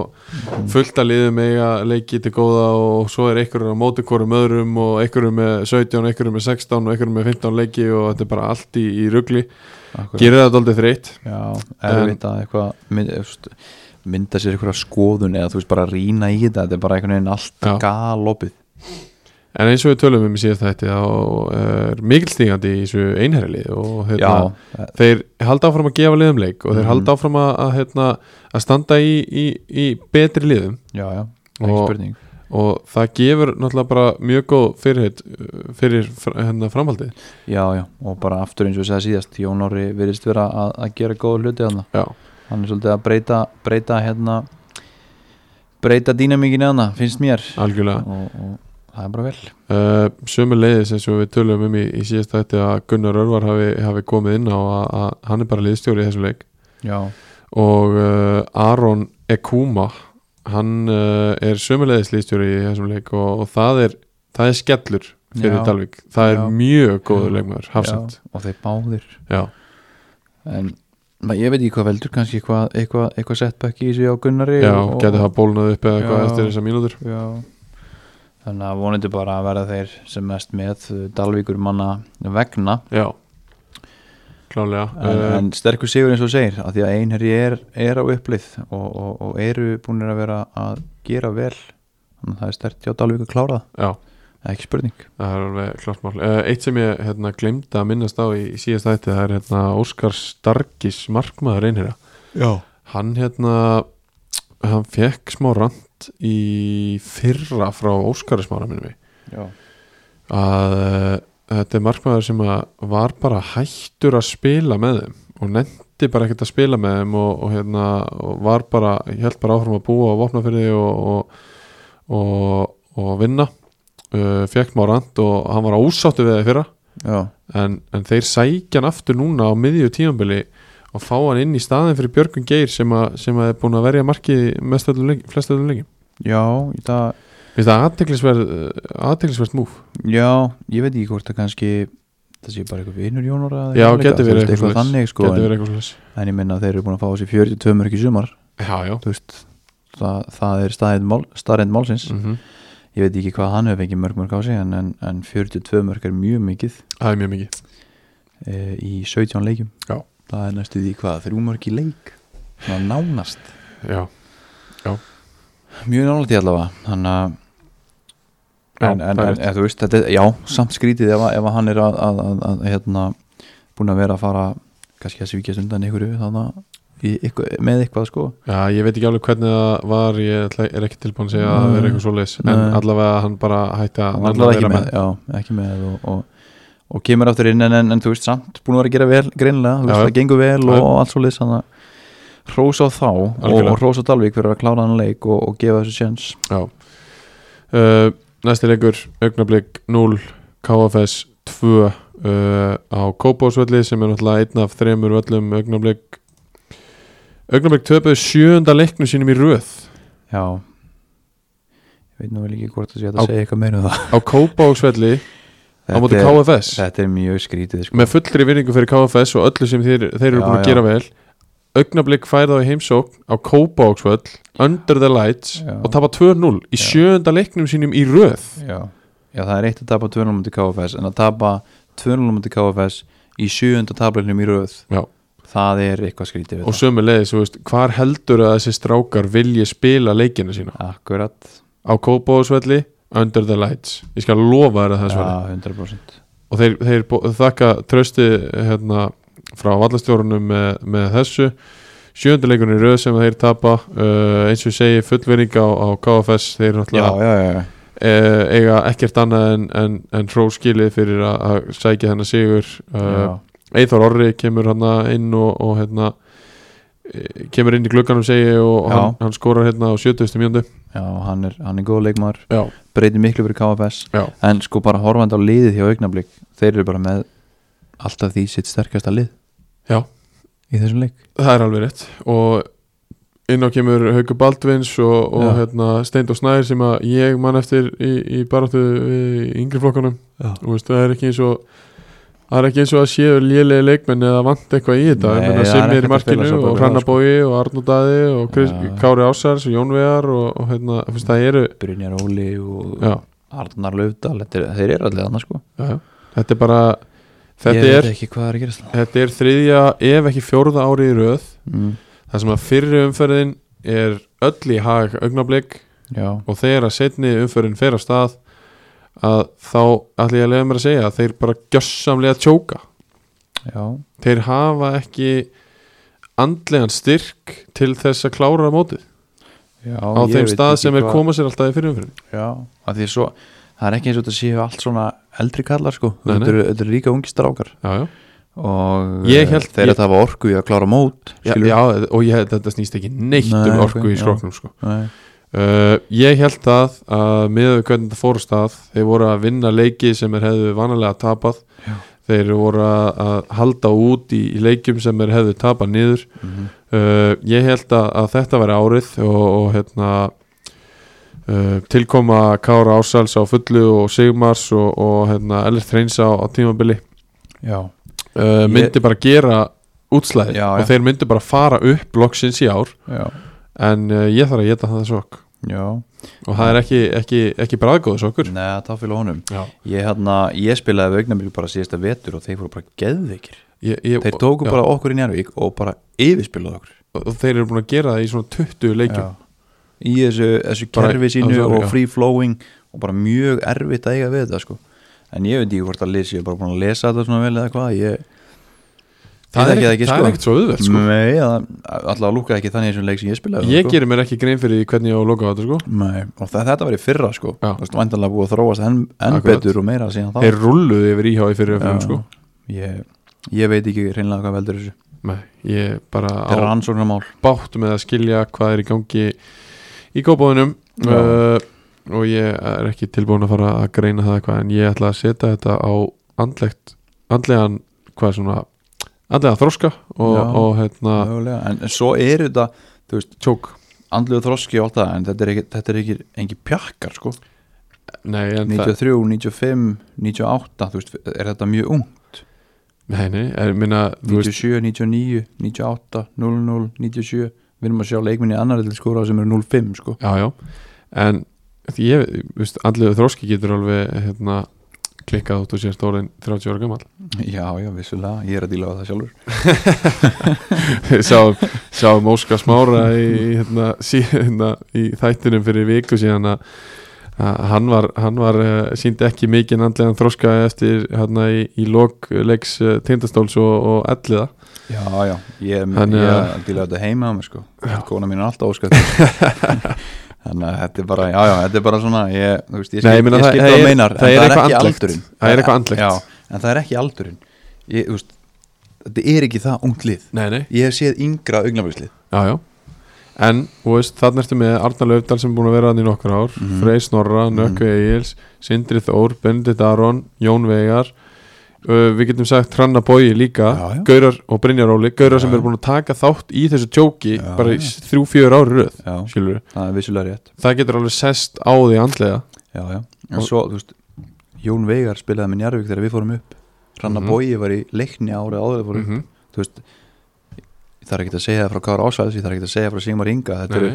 B: og fullt að liðum eiga leiki til góða og svo er einhverjum á móti hverjum öðrum og einhverjum með 17, einhverjum með 16 og einhverjum með 15 leiki og þetta er bara allt í, í rugli
C: Akkurat.
B: gerir þetta aldrei þreytt
C: Já, erfitt að eitthvað mynd- þú veist, mynda sér eitthvað skoðun eða þú veist bara rýna í þetta þetta er bara einhvern veginn allt
B: Já.
C: galopið
B: en eins og við tölum um í síðast þætti þá er mikil stígandi í þessu einherjalið og hérna,
C: Já, eh,
B: þeir halda áfram að gefa liðum leik og þeir
C: Mhm.
B: halda áfram að, að, hérna, að standa í, í, í betri liðum
C: já, já, ekki
B: Og-
C: spurning
B: og það gefur náttúrulega bara mjög góð fyrirheit uh, fyrir fr- hérna framhaldið
C: Já, já, og bara aftur eins og við segja síðast Jón Orri virðist vera að, að gera góða hluti þarna
B: Já.
C: hann er svolítið að breyta, breyta hérna breyta dýnamíkinu þarna, finnst mér
B: algjörlega
C: og, og það er bara vel
B: uh, sömu leiðis eins og við tölum um í, í síðast þætti að Gunnar Örvar hafi, hafi komið inn á að, að hann er bara liðstjóri í þessum leik
C: Já,
B: og uh, Aron Ekuma hann uh, er sömuleiðis liðstjóri í þessum leik og, og það er það er skellur fyrir
C: Já.
B: Dalvik það er
C: Já.
B: mjög góður
C: Já.
B: leikmaður hafsend
C: já, og þeir báðir
B: já.
C: en ma- ég veit ekki hvað veldur kannski eitthvað, eitthvað, eitthvað setback í þessu á Gunnari
B: já,
C: og- og-
B: gæti það bólnað upp eða eitthvað
C: Já.
B: eftir þessar mínútur
C: Já Þannig að vonandi bara að verða þeir sem mest með uh, Dalvíkur manna vegna
B: já, klálega
C: en, en sterkur sigur eins og þú segir að því að einherji er, er á upplið og, og, og eru búinir að vera að gera vel þannig að það er stert hjá Dalvíkur að klára það,
B: já
C: ekki spurning
B: Það er alveg klart mál. Eh, Eitt sem ég hérna, glemdi að minnast á í, í síðast þætti það er hérna, Óskar Starkis markmaður einherja.
A: Já
B: Hann hérna hann fekk smá rand í fyrra frá Óskari smára minnum við
C: Já,
B: að uh, þetta er markmaður sem að var bara hættur að spila með þeim og nefndi bara ekkert að spila með þeim og, og hérna og var bara, ég held bara áfram að búa og vopna fyrir því og, og, og, og vinna uh, fekk Márand og hann var ásáttu við það fyrra
C: já,
B: en, en þeir sækja hann aftur núna á miðju tímanbili og fá hann inn í staðin fyrir Björgun Geir sem, að, sem að er búin að verja markið í mest öllum leik- flest öllum lengi
C: já, í dag
B: Finnst það uh, aðteklisverð aðteklisverð múf
C: Já, ég veit ekki hvort það kannski það sé bara eitthvað vinur Jónora eða
B: Já,
C: eitthvað
B: geti
C: líka,
B: verið
C: þú veist,
B: eitthvað
C: eitthvað þannig sko,
B: Geti verið
C: en,
B: eitthvað slags
C: en ég minna að þeir eru búin að fá þessi 42 mörg í sumar
B: Já, já
C: þú veist, það, það er staðreind mál, staðreind málsins
B: mm
C: ég veit ekki hvað hann hefur fengið mörg mörg á sig en, en, en 42 mörg er mjög mikið
B: Það er mjög mikið
C: e, í 17 leikjum
B: Já.
C: það er næstu því hvað, þrjú mörg í leik svona nánast,
B: Já,
C: mjög nánast í allavega þannig að
B: Já,
C: en, en,
B: það er
C: en
B: rétt.
C: en þú veist, þetta, er- já, samt skrítið ef, að- ef að hann er að, að, að, að hérna, búin að vera að fara kannski að svíkjast undan ykkur með eitthvað sko
B: Já, ég veit ekki alveg hvernig það var Ég ætla, er ekki tilbúin að segja að það
C: Nei.
B: er eitthvað svoleiðis En
C: Nei.
B: allavega hann bara hætti að
C: hann
B: nenna
C: var
B: að
C: allavega
B: vera
C: ekki með, Já, ekki með og, og, og kemur aftur inn en, en, en þú veist samt búin að vera að gera vel greinilega, þú
B: Já,
C: veist
B: já.
C: það gengur vel
B: Já, já.
C: og allt svo liðs hann að hrósa á þá og,
B: Algjörlega.
C: og hrósa á Dalvík fyrir að klára hann leik og, og gefa þessu sjens
B: uh, Næsti leikur, augnablík 0 KFS 2 uh, á Kópásvelli sem er náttúrulega einn af þremur völlum augnablík Augnablík töpuð sjönda leiknum sínum í röð
C: Já Ég veit nú vel ekki hvort það sé
B: Á-
C: hægt að segja eitthvað meira um það
B: á Kópásvelli *laughs* á móti
C: er,
B: KFS
C: þetta er mjög skrítið sko.
B: með fullri virðingu fyrir KFS og öllu sem þeir, þeir eru
C: Já,
B: búin að
C: já.
B: gera vel augnablík fær þá í heimsókn á Kópásvöll under the lights
C: Já.
B: og tapa 2-0 í
C: Já.
B: sjönda leiknum sínum í röð
C: Já. Já, það er eitt að tapa 200 múti KFS en að tapa 200 múti KFS í sjöunda tablinum í röð
B: Já.
C: það er eitthvað skrítið við
B: og sömu leiðis, þú veist, hvar heldur að þessi strákar vilji spila leikina sína
C: það Akkurat
B: á Kópavóðsvelli, Under the Lights ég skal lofa þér að það er svona
C: Já, 100%
B: og þeir, þeir bó- þakka trösti hérna, frá vallastjórunum með, með þessu sjönduleikunni röð sem þeir tapa uh, eins og ég segi fullvering á, á KFS þeir náttúrulega
C: já, já
B: uh, eiga ekkert annað en, en, en tróskilið fyrir að- að sækja þennan sigur uh,
C: já,
B: Eithor Orri kemur hann inn og, og hérna eh, kemur inn í glugganum segi ég, og
C: Já.
B: hann, hann skorar hérna á 70. mjöndu
C: já, hann er, hann er góð leikmaður
B: já,
C: breytir miklu fyrir KFS
B: já,
C: en sko bara horfandi á liðið hjá augnablík þeir eru bara með alltaf því sitt sterkasta lið
B: Já.
C: í þessum leik
B: það er alveg rétt og inn á kemur Hauku Baldvins og, og
C: Já.
B: hérna, Steind og Snær sem að ég man eftir í, í baráttu við yngri flokkanum
C: Já.
B: Þú veist, það er ekki eins og það er ekki eins og að séu lélegi leikmenn eða vant eitthvað í þetta
C: Nei,
B: Ég meina,
C: það er
B: sem er
C: ekkert að
B: í
C: spila
B: markinu
C: svo
B: og
C: bara
B: Hrannabói og Arnódaði og Chris,
C: Já.
B: Kári Ásars og Jón Vegar og, og hérna, þú veist, það eru
C: Brynjar Óli og
B: já,
C: Arnar Löfdal þetta er- þeir eru allir annars sko
B: já, já. þetta er bara þetta
C: ég
B: er,
C: veit ekki hvað er að gerast
B: þetta er þriðja ef ekki fjórða ári í röð
C: mm.
B: það sem að fyrri umferðin er öll í hag augnablik
C: já,
B: og þegar að setni umferðin fer af stað að þá ætlum ég að leiða mér að segja að þeir bara gjössamlega tjóka
C: já,
B: þeir hafa ekki andlegan styrk til þess að klára mótið
C: já
B: á
C: ég
B: þeim
C: veit
B: stað
C: ekki
B: sem er
C: hvað-
B: koma sér alltaf í fyrir umferðin
C: já, af því svo það er ekki eins og þetta séu allt svona eldri kallar sko
B: Nei, nei.
C: þetta eru, þetta eru líka ungi strákar
B: já, já.
C: og
B: Ég
C: eh,
B: hélt-
C: þeir
B: ég-
C: að það var orku í að klára mót
B: Já,
C: skilur.
B: já, og ég, þetta snýst ekki neitt
C: Nei,
B: um orku
C: ok,
B: í
C: já.
B: skróknum sko.
C: Nei.
B: uh, ég held að, að með við hvernig þetta fór af stað þeir voru að vinna leiki sem þeir hefðu vanalega tapað
C: Já.
B: þeir voru að, að halda út í, í leikjum sem þeir hefðu tapað niður
C: Mhm.
B: Uh, ég held að, að þetta væri árið og, og hérna uh, tilkoma Kára Ársals á fullu og Sigmars og, og hérna Ellert Hreins á, á tímabili
C: já,
B: uh,
C: Ég-
B: myndi bara gera útslæði
C: Já, já.
B: og þeir myndi bara fara upp loksins í ár
C: já,
B: en uh, ég þarf að geta það sokk
C: já
B: og það er ekki, ekki, ekki bræðgóðu sokkur
C: Nei, það fyrir honum
B: Já.
C: Ég, hérna, ég spilaði við augnablik bara síðasta vetur og þeir voru bara geðveikir
B: ég, ég,
C: Þeir tóku
B: já,
C: bara okkur í Njárvík og bara yfirspilaði okkur
B: og þeir eru búin að gera það í svona 20 leikjum
C: Í þessu, þessu
B: Bara-
C: kerfi sínu
B: þessu-
C: og
B: já.
C: free flowing og bara mjög erfitt að eiga við þetta sko. En ég veit ekki hvort að lýs ég er bara búin að lesa þetta svona vel eða hvað ég,
B: það,
C: Ég þekki
B: er
C: það
B: ekki,
C: ekki,
B: það
C: sko.
B: er ekkert svo auðvelt sko.
C: Nei, það, allavega lúka ekki þannig eins og leik sem ég spilaði
B: ég
C: sko.
B: gerir mér ekki grein fyrir því hvernig ég á að loka á þetta sko
C: Nei, og það, þetta var í fyrra sko
B: Já.
C: Þú veist, Væntanlega búið að þróast enn, enn
B: Akkurat.
C: betur og meira síðan þá
B: Þeir rulluðu yfir íhá í fyrir umfyrum sko
C: ég, ég veit ekki hreinlega hvað veldur þessu
B: Nei, ég bara
C: Þetta er
B: á
C: rannsóknarmál
B: bátt með að skilja hvað er í gangi í góðbóðunum
C: Já.
B: uh, og ég er ekki tilbúin að fara að greina það eitthvað en ég ætla að setja þetta á andlegt, andlegan hvað er svona, andlegan þroska og,
C: Já.
B: og hérna
C: Mögulega, en en svo er þetta þú veist,
B: tjók,
C: andluðu þroski og allt það en þetta er ekki, þetta er ekki engi pjakkar sko.
B: nei en það
C: 93, 95, 98 þú veist, er þetta mjög ung
B: nei, nei, er, minna, þú veist
C: 97, 99, 98, 00, 97 við erum að sjá leikminni annar til skóra sem eru 05 sko.
B: já, já, en því ég, þú veist, andlega þroski getur alveg hérna klikkað út og sér stólinn 30 ára gammal
C: já, já, vissulega, ég er að díla á það sjálfur
B: *laughs* Við sáum, sáum Óskar Smára í, í hérna, sí, hérna, í þættinum fyrir viku síðan að að hann var, hann var uh, síndi ekki mikið andlegan þroska eftir hérna í, í lok leiks uh, tindastóls og, og elliða
C: já, já, ég,
B: Hann,
C: ég er
B: uh,
C: að díla á þetta heima á mér sko. kona mín er alltaf ósköld
B: *laughs*
C: þannig að þetta er bara já, já, þetta er bara svona ég, þú veist, ég
B: Nei,
C: skil
B: ég meina,
C: ég
B: það-
C: skil
B: það
C: hvað
B: er-
C: meinar
B: það
C: en
B: er eitthvað
C: ekki
B: andlegt.
C: aldurinn.
B: Það er eitthvað andlegt.
C: já, en það er ekki aldurinn ég, þú veist, þetta er ekki það ungt lið
B: Nei, nei
C: ég hef séð yngra augnabæslið
B: Já, já En, þú veist, þannig ertu með Arna Laufdal sem er búin að vera hann í nokkur ár mm
C: Mhm.
B: Frey Snorra, Nökkvi Egils, Sindri Þór, Benedikt Aron, Jón Vegar uh, Við getum sagt Hranna Bói líka
C: Já, já.
B: Gaurar og Brynjar Óli Gaurar sem
C: Já.
B: eru búin að taka þátt í þessu tjóki
C: Já,
B: bara í
C: já.
B: þrjú, fjör ári röð
C: já,
B: skilur.
C: það er vissulega rétt
B: Það getur alveg sest á því andlega
C: já, já.
B: Og-
C: en svo, þú veist, Jón Veigar spilaði með Njarvík þegar við fórum upp Ranna
B: Mhm.
C: Bói var í leikni árið áður en við fórum upp
B: -hmm.
C: þú veist, ég þarf ekki að segja það frá Kára Ásvæðis, ég þarf ekki að segja frá Sigmar Inga þetta eru,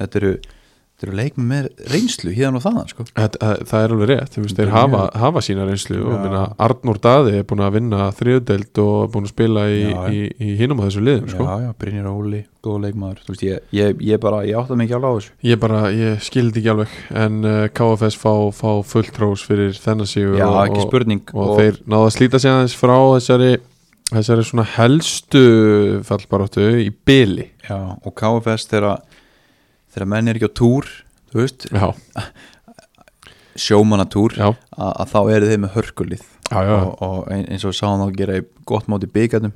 C: þetta eru, þetta eru leikmi með reynslu hérna og þaðan sko.
B: það, það, það er alveg rétt, þú veist,
C: Þetta
B: þeir
C: er
B: hafa, hafa sína reynslu og
C: Já.
B: minna Arnór Daði er búin að vinna þriðdelt og er búin að spila í,
C: Já, já.
B: í, í hinum á þessu liðum sko.
C: já, já, Brynjar Óli, góð leikmaður þú veist, ég, ég, ég bara, ég átta mig ekki alveg á þessu
B: Ég bara, ég skildi ekki alveg en uh, KFS fá, fá fullt rós fyrir þennan sigur
C: já,
B: og,
C: ekki
B: og,
C: spurning
B: og, þeir náðu að slíta sig aðeins frá þessari, þessari svona helstu fallbaráttu í byli
C: já, og KFS þegar þegar menn er ekki á túr þú veist,
B: Já,
C: sjómanatúr
B: já,
C: að að þá eru þeir með hörkulið
B: já, já,
C: og, og ein- eins og við sáum þá gera í gott móti byggarnum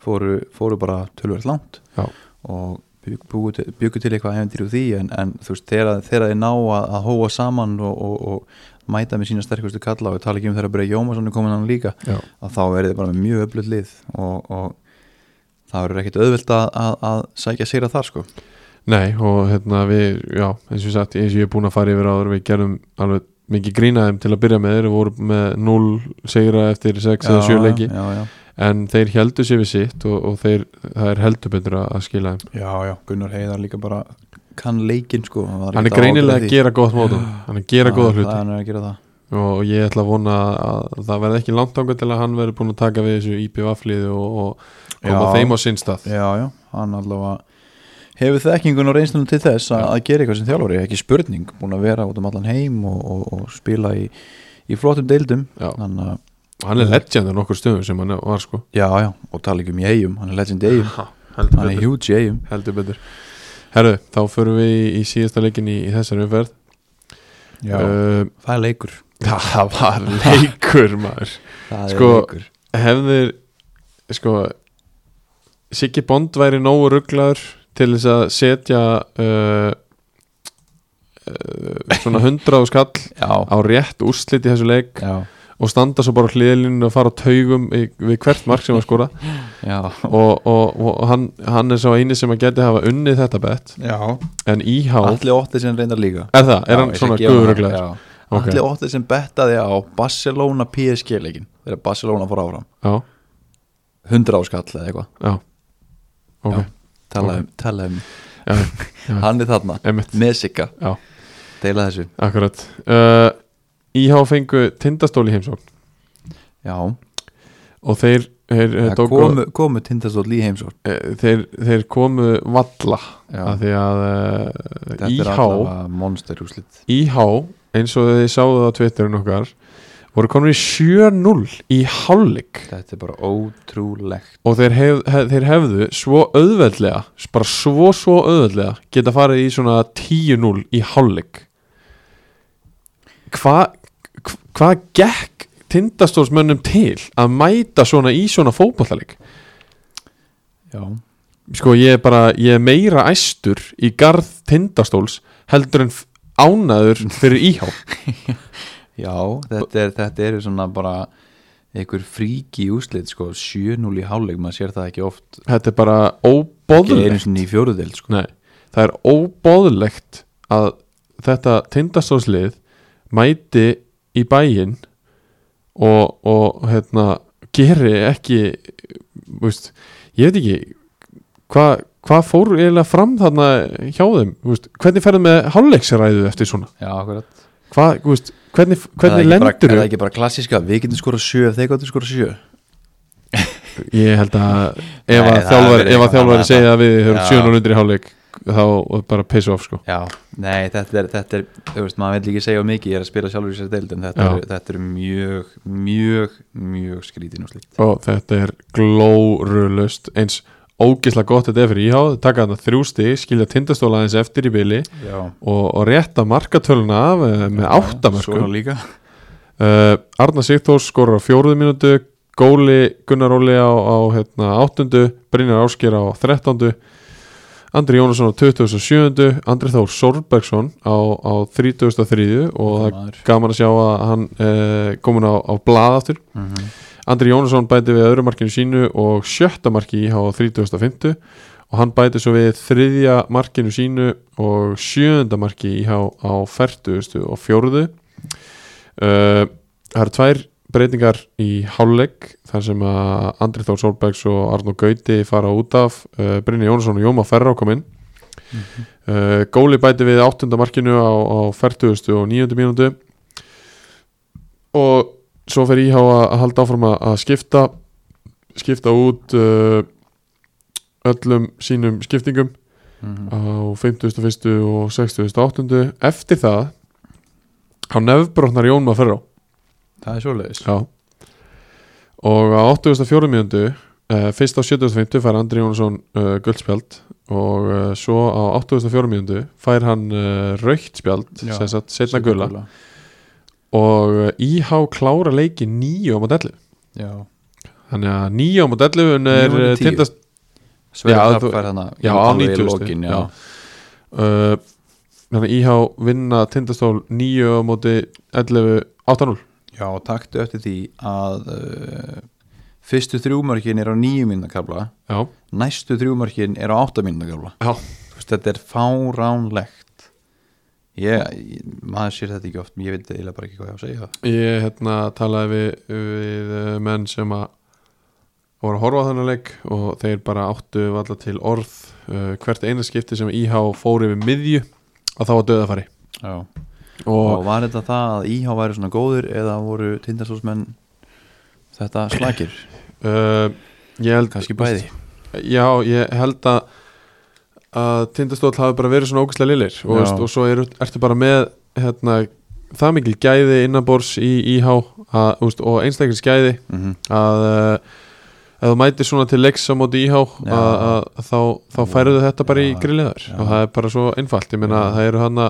C: fóru, fóru bara tölvöld langt
B: Já.
C: og bjuggu, búgu til- bjuggu til eitthvað hefndir úr því en, en þú veist, þegar, þegar þeir ná að, að hóa saman og, og, og mæta með sína sterkustu kalla og ég tala ekki um þegar að byrja Jómasson er komin hann líka
B: Já.
C: að þá verður þið bara með mjög öflut lið og, og það verður ekkit auðvelt að, að, að sækja sigra þar sko
B: Nei og hérna við, já, eins og ég sagt eins og ég er búin að fara yfir áður við gerðum alveg mikið grínaðum til að byrja með þeir voru með 0 sigra eftir 6 eða 7 leiki
C: já, já,
B: en þeir heldur sér við sitt og, og þeir, það er heldur betur að að skila þeim
C: já, já, Gunnar Heiðar líka bara kann leikinn sko hann var
B: hann er
C: ekkert áhyggjur af
B: greinilega
C: því.
B: að gera gott mótum hann er að gera
C: Já,
B: góða
C: það-
B: hluti
C: hann er að gera það
B: og ég ætla að vona að það verði ekki langt ánga til að hann verði búin að taka við þessu IPV-flið og, og koma
C: Já.
B: þeim á sinn stað
C: Já, já, hann allavega hefur þekkingun og reynslunum til þess að, að gera eitthvað sem þjálfari, ekki spurning búin að vera út um allan heim og, og, og spila í, í flottum deildum
B: Já.
C: þannig að,
B: og hann er legend á nokkur stöðum sem hann var sko
C: já, já, og tala ekki um í eigum hann er legend í eigum,
B: *laughs* Ha, heldur
C: hann er
B: betur,
C: huge í eigum
B: heldur betur Herru, þá förum við í, í síðasta leikin í, í þessari umferð uh,
C: það er leikur
B: *laughs* Það var leikur maður
C: það er
B: Sko,
C: leikur
B: Hefðir sko Siggi Bond væri nógu rugglaður til þess að setja uh, uh, svona 100 á skall
C: já,
B: á rétt úrslit í þessu leik
C: já,
B: og standa svo bara hliðlinu og fara á taugum í, við hvert mark sem var
C: *laughs*
B: skora
C: já
B: og, og, og hann, hann er svo eini sem að geti hafa unnið þetta bett
C: já,
B: en IH
C: allir óttið sem reyndar líka
B: er það, er
C: Já,
B: hann
C: ég skal
B: svona
C: gefa hann-
B: guðuruglega
C: já.
B: Ok.
C: allir óttið sem bettaði á Barcelona PSG leikin þegar Barcelona fór áfram
B: já,
C: 100 áskall eða eitthvað
B: já ok,
C: Já. talaði um, talaði um
B: já, Já.
C: *laughs* hann er þarna
B: emitt,
C: með sigga
B: Já.
C: deila þessu
B: akkurat uh, IH fengu tindastól í heimsókn
C: já,
B: og þeir, þeir, eh,
C: það
B: tóku,
C: komu, komu tindastóll í heimsókn
B: eh, þeir, þeir komu valla
C: Já.
B: af því að uh,
C: þetta er
B: IH
C: allavega monster úslit
B: IH eins og þið sáðu það á Twitterun okkar voru konur í 7-0 í hálfleik
C: þetta er bara ótrúlegt
B: og þeir, hef, hef, þeir hefðu svo auðveldlega bara svo svo auðveldlega geta farið í svona 10-0 í hálfleik hvað hva, hvað gekk tindastólsmönnum til að mæta svona í svona fótballaleik
C: já,
B: sko ég er bara, ég er meira æstur í garð tindastóls heldur en f- ánaður fyrir íhá
C: já þetta, er, þetta eru svona bara einhver fríki úslit sko, 7-0 í hálfleik, maður sér það ekki oft
B: þetta er bara
C: ekki einu
B: óbóðlegt
C: sinni í fjóruðeld sko.
B: Nei, það er óbóðlegt að þetta tindastólslið mæti í bæinn og, og hérna geri ekki þú veist, ég veit ekki hvað hva fór eiginlega fram þarna hjá þeim, þú veist, hvernig ferðu með hálfleiksræðu eftir svona,
C: já, akkurat
B: hvað, þú veist, hvernig, hvernig
C: er það ekki bara-
B: lendur
C: er það ekki bara klassíska, við getum skora 7 ef þeir getum skora 7
B: Ég held að ef
C: Nei,
B: að
C: það
B: þjálfari, ef
C: verður
B: að
C: eitthvað
B: þjálfari
C: annað.
B: segja að við höfum
C: um Já.
B: 700 undir í hálfleik þá bara pissu of sko
C: Já, nei, þetta er, þetta er þú veist, maður vil ekki segja of mikið, ég er að spila sjálfur í sér deild en þetta
B: Já.
C: er, þetta er mjög, mjög, mjög skrítin og slíkt
B: og þetta er glórulust eins ógislega gott þetta er fyrir íhá taka þarna þrjú stig, skilja tindastóla aðeins eftir í byli
C: Já,
B: og, og rétta markatöluna af eh, með
C: Svona
B: áttamörkum
C: líka
B: uh, Arna Sigþórs skorur á fjóruðu mínútu Góli Gunnar Óli á, á hérna, áttundu, Brynjar Ásker á þrettandu Andri Jónasson á 27. Andri Þór Sorbergsson á, á 33. og það er
C: Maður.
B: gaman að sjá að hann uh, komin á, á blað aftur
C: mm
B: Andri Jónasson bæti við öðru markinu sínu og sjötta marki í á 30.50 og hann bæti svo við þriðja markinu sínu og sjöunda marki í á 40. og fjóruðu uh, Það eru tvær breytingar í hálfleik þar sem að Andri Þór Solbergs og Arnó Gauti fara út af uh, Brynni Jónasson og Jóma Ferra kom inn uh, Góli bæti við áttunda markinu á, á 40. og 9. mínútu og svo fer íhá að að halda áfram að að skipta skipta út uh, öllum sínum skiptingum
C: Mhm.
B: á 51. og 68. eftir það á nefnbrotnar Jón maður ferra
C: *laughs* Það er svoleiðis
B: Já og á 84. mínútu uh, fyrst á 75. fær Andri Jónsson uh, guldspjald og uh, svo á 84. mínútu fær hann uh, raukt spjald
C: Já,
B: sem sagt setna gula og uh, IH klára leiki 9 á mót 11
C: Já,
B: Þannig að 9 á mót 11
C: Níu á
B: er eh,
C: móti tíu.
B: tindast
C: Sverri
B: Já,
C: Knapp
B: þú-
C: fær þarna
B: Já, á
C: alveg í
B: 90
C: lokin,
B: stig,
C: já.
B: já. Uh, Þannig að IH vinna tindastól 9 á móti 11 8-0
C: Já, og taktu eftir því að uh, fyrstu þrjúmörkin er á nýju mínúna kafla
B: Já,
C: næstu þrjúmörkin er á átta mínúna kafla
B: já,
C: Þú veist, þetta er fáránlegt ég, ég- maður sér þetta ekki oft ég veit eiginlega bara ekki hvað ég á að segja
B: ég hérna talaði við, við eh, menn sem að voru að horfa á þennan leik og þeir bara áttu alltaf til orð uh, hvert eina skipti sem IH fór yfir miðju að þá var döðafari
C: Já.
B: og
C: og var þetta það að íhá væri svona góður eða voru tindastólsmenn þetta slagir
B: uh, ég held
C: kannski bæði
B: Já, ég held að að tindastóll hafi bara verið svona ógæslega lilir og,
C: Já.
B: veist, og svo er, ertu bara með hérna, það mikil gæði innanbors í IH að, veist, og einstakins gæði
C: mm
B: að uh, ef þú mætir svona til leiks á móti IH að,
C: Já.
B: að, þá, þá færðu þetta bara í
C: Já.
B: grilliðar
C: Já.
B: og það er bara svo einfalt, ég meina
C: Já.
B: það eru hann að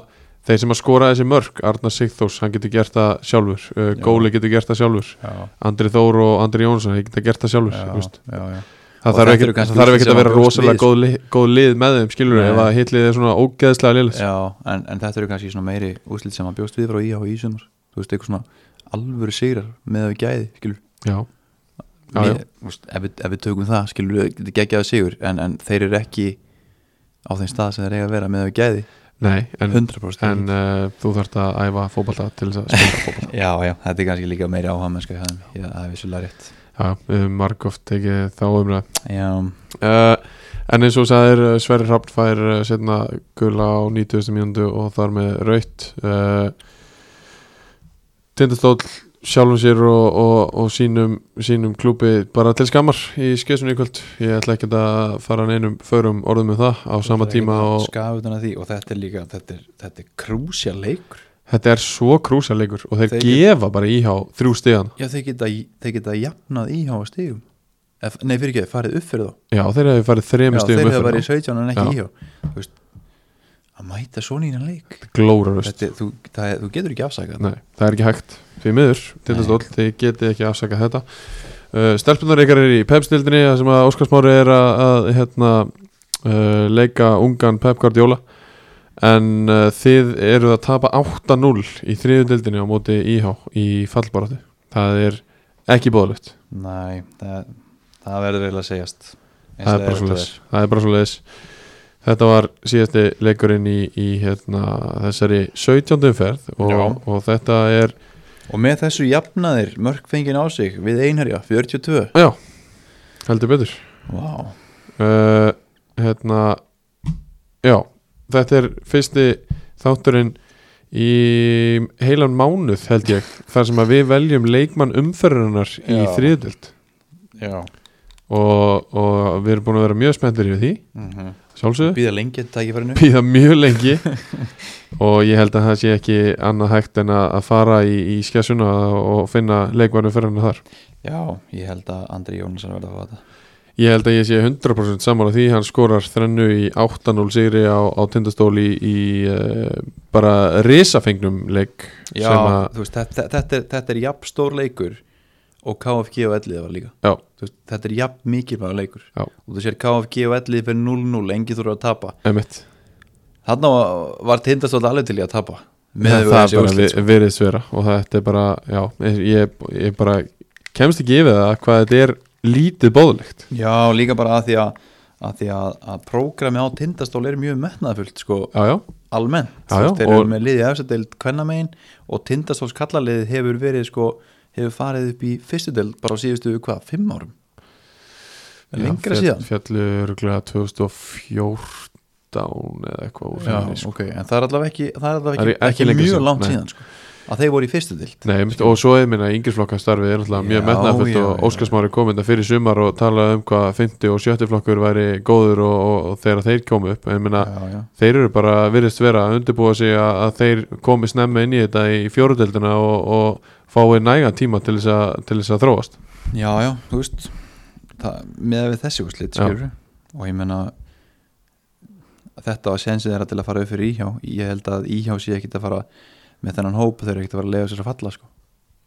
B: þeir sem að skora þessi mörg, Arnar Sigþós hann getur gert það sjálfur, uh,
C: Já.
B: Góli getur gert það sjálfur,
C: já,
B: Andri Þór og Andri Jónsson, þeir geta gert það sjálfur
C: já,
B: þú veist
C: já, já.
B: það
C: Og
B: þarf
C: þetta
B: ekkert
C: eru kannski
B: það þarf ekkert að
C: úrslit sem
B: vera
C: að brjóst
B: rosalega
C: lið,
B: góð, lið, góð lið með þeim skilur
C: Nei.
B: ef að hitlið er svona ógeðslega liðlis
C: já en, en þetta eru kannski svona meiri úrslit sem að bjóst við frá íhá í sumar þú veist, eitthvað svona alvöru sigrar með að við gæði, skilur
B: já, Já,
C: Mér, þú veist, ef, við, ef við tökum það, skilur við þetta er geggjaðu sigur, en, en þeir eru ekki á þeim stað sem þeir eiga að vera með að við gæði
B: nei en,
C: 100%
B: en uh, þú þarft að æfa fótballta til þess að
C: *laughs*
B: spila fótballta
C: já, já, þetta er kannski líka meiri áhagmennska það er vissulega rétt
B: já, við höfum margóft tekið þá umra
C: já,
B: uh, en eins og sagðir uh, Sverri Hrafn fær uh, setna gula á 90. mínúndu og þar með raut uh, tindastóll sjálfum sér og, og, og sínum, sínum klúpi bara til skammar í skessunni í kvöld ég ætla ekki að fara neinum förum orðum með það á sama tíma og
C: skafutan að því og þetta er líka, þetta er, þetta er krúsja leikur
B: Þetta er svo krúsaleikur og þeir,
C: Þeir
B: gefa bara íhá þrjú stíðan
C: já, þeir geta, þeir geta jafnað íhá að stigum Ef- nei, fyrir ekki, farið upp fyrir þá
B: Já, þeir hefur farið þrejum
C: já,
B: stíðum
C: þeir
B: upp hérna. fyrir
C: hefur verið í 17 en ekki
B: Já.
C: íhá Þú veist, að mæta svona í hann leik
B: þá. Glórarust
C: þetta, er- þú, það, er- þú getur ekki afsakað
B: Nei, það er ekki hægt Því miður, tindastóll, þeir geti ekki afsaka þetta uh, Stelpunar ykkar er í pepstildinni Það sem að Óskars Mári er að, að hérna, uh, leika ungan Pep Guardiola En uh, þið eruð að tapa 8-0 í þriðundildinni á móti íhá í fallbaráttu Það er ekki bóðlegt
C: Nei, það, það verður eiginlega að segjast Eins
B: það
C: og
B: er bara
C: oft
B: svoleiðis það er bara svoleiðis þetta var síðasti leikurinn í, í hérna, þessari 17. ferð
C: Já.
B: og, og þetta er
C: er. Og með þessu jafnaðir mörg fengin á sig við einherja 42
B: já, heldur betur
C: Vá,
B: uh, hérna já, þetta er fyrsti þátturinn í heilan mánuð held ég þar sem að við veljum leikmann umferðunar í
C: Já.
B: þriðdild
C: já
B: og, og við erum búin að vera mjög spenntir yfir því
C: mm
B: sjálfsögðu
C: Býða lengi að
B: *laughs*
C: tækifærinu
B: býða mjög lengi og ég held að það sé ekki annað hægt en að, að fara í, í skessuna og finna leikvæðinu fyrir hennar þar
C: Já, ég held að Andri Jónsson verður að fá þetta
B: ég held að ég sé 100% sammála því hann skorar þrennu í 8-0 sigri á, á tindastóli í, í eh, bara risafengnum leik
C: Já,
B: sem að
C: þú veist, þetta, þetta, er, þetta er jafn stór leikur og KFG og Ellið var líka
B: já,
C: Þú veist, Þetta er jafn mikilvægur leikur
B: Já.
C: Og þú sér KFG og Ellið fyrir 0-0 engi þú eru að tapa
B: emitt
C: Þarna var- var tindastótt alveg til í að tapa
B: það
C: við
B: það
C: þessi
B: bara
C: úrslit,
B: vi-
C: sko.
B: virðist vera og þetta er bara, já, ég, ég bara kemst ekki yfir það hvað þetta er lítið bóðlegt
C: Já, líka bara að því að að því að, að prógrami á tindastól er mjög metnaðfullt sko
B: já, já,
C: almennt,
B: Já,
C: Þú
B: já,
C: veist, þeir eru
B: og-
C: með liðið efstadeild kvennamegin og tindastóls kallaliðið hefur verið sko, hefur farið upp í fyrstu deild bara á síðustu, hvað, fimm árum
B: Já,
C: lengra
B: fjall-
C: síðan
B: Fjallu örgulega 2014 eða eitthvað úr
C: Já,
B: henni, sko.
C: ok, en það er allavega ekki það er allavega
B: Það er
C: ekki,
B: ekki
C: ekki,
B: lengra
C: mjög
B: síðan,
C: langt
B: nei.
C: síðan sko, að þeir voru í fyrstu deild
B: Nei, mitt, og svo er minna yngirflokka starfið er náttúrulega mjög
C: Já,
B: metnafullt
C: já,
B: og
C: já.
B: Óskarsmári kom þetta fyrir sumar og talaði um hvað 50 og 70 flokkur væri góður og, og, og þegar þeir komu upp en minna,
C: Já, já,
B: þeir eru bara virðist vera að undirbúa sig að, að þeir komi snemma inn í þetta í fjóruðeldina og, og fái næga tíma til þess, að, til þess að þróast
C: já, já, þú veist það, með við þessi úrslit
B: Já.
C: skilur og ég menna þetta var sensið þeirra til að fara upp fyrir íhjá ég held að íhjá sé ekki að fara með þennan hóp þeir eru ekki að fara að lega sér að falla sko.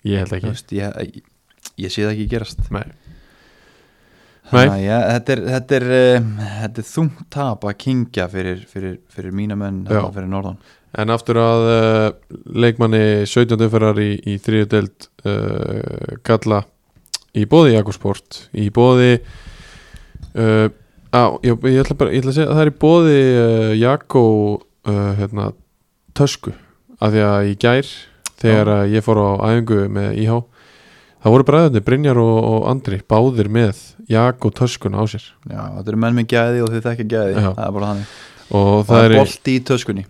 B: Ég held
C: Þú
B: ekki
C: veist, ég, ég, ég sé það ekki gerast
B: Nei. Nei.
C: Þannig að ég- þetta er, þetta er, um, þetta er þungt tap að kingja fyrir, fyrir, fyrir mína menn
B: Já.
C: þarna fyrir norðan
B: En aftur að uh, leikmanni 17. umferðar í, í þriðu deild uh, kalla í bóði Jakobsport í bóði uh, á, ég, ég, ætla bara, ég ætla að segja að það er í bóði uh, Jakó uh, hérna, tösku af því að í gær þegar að ég fór á æfingu með IH það voru bræðunni Brynjar og, og Andri báðir með Jakó töskuna á sér
C: Já, þetta eru menn með gæði og þið þekkja gæði
B: Já.
C: það er bara þannig
B: og
C: og það er
B: í-
C: bolti í töskunni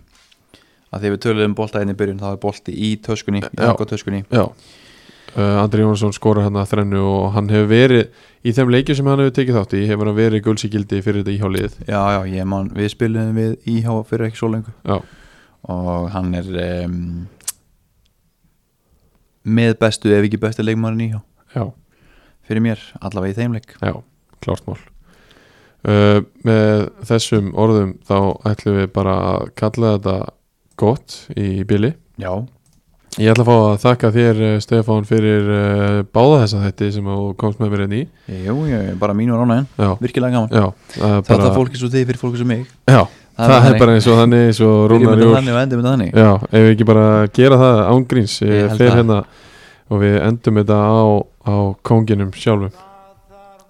C: að því við töluðum um bolta einn í byrjun þá er bolti í töskunni, í
B: Já.
C: töskunni.
B: Já uh, Andri Jónsson skora hann að þrennu og hann hefur verið í þeim leikjum sem hann hefur tekið þátt í hefur hann verið gulsíkildi fyrir þetta íhjálið
C: Já, já, ég man, við spilum við íhá fyrir ekki svo lengur
B: Já,
C: og hann er um, með bestu ef ekki bestu leikmann íhá
B: já,
C: fyrir mér, allavega í þeimleik
B: já, klart mál uh, Með þessum orðum þá ætlum við bara að kalla þetta gott í bili
C: Já,
B: Ég ætla að fá að þakka þér eh, Stefán fyrir uh, báða þessa þætti sem þú komst með mér enn í
C: jú, jú, bara mínu er ánæðin
B: Já,
C: virkilega gaman,
B: já Það er
C: þetta
B: bara,
C: er fólk eins og þið fyrir fólk eins og mig
B: já, það er
C: þannig.
B: bara eins og þannig eins og
C: Byrjum
B: Rúnar
C: þetta
B: Júl
C: þannig og endum þetta þannig
B: Já, ef við ekki bara gera það ángríns
C: Ég
B: ég
C: held
B: fer
C: það.
B: hérna og við endum þetta á, á konginum sjálfum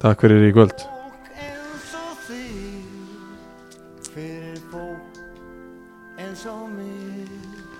B: Takk fyrir í kvöld
A: fólk eins og þig fyrir fólk eins og mig Ah,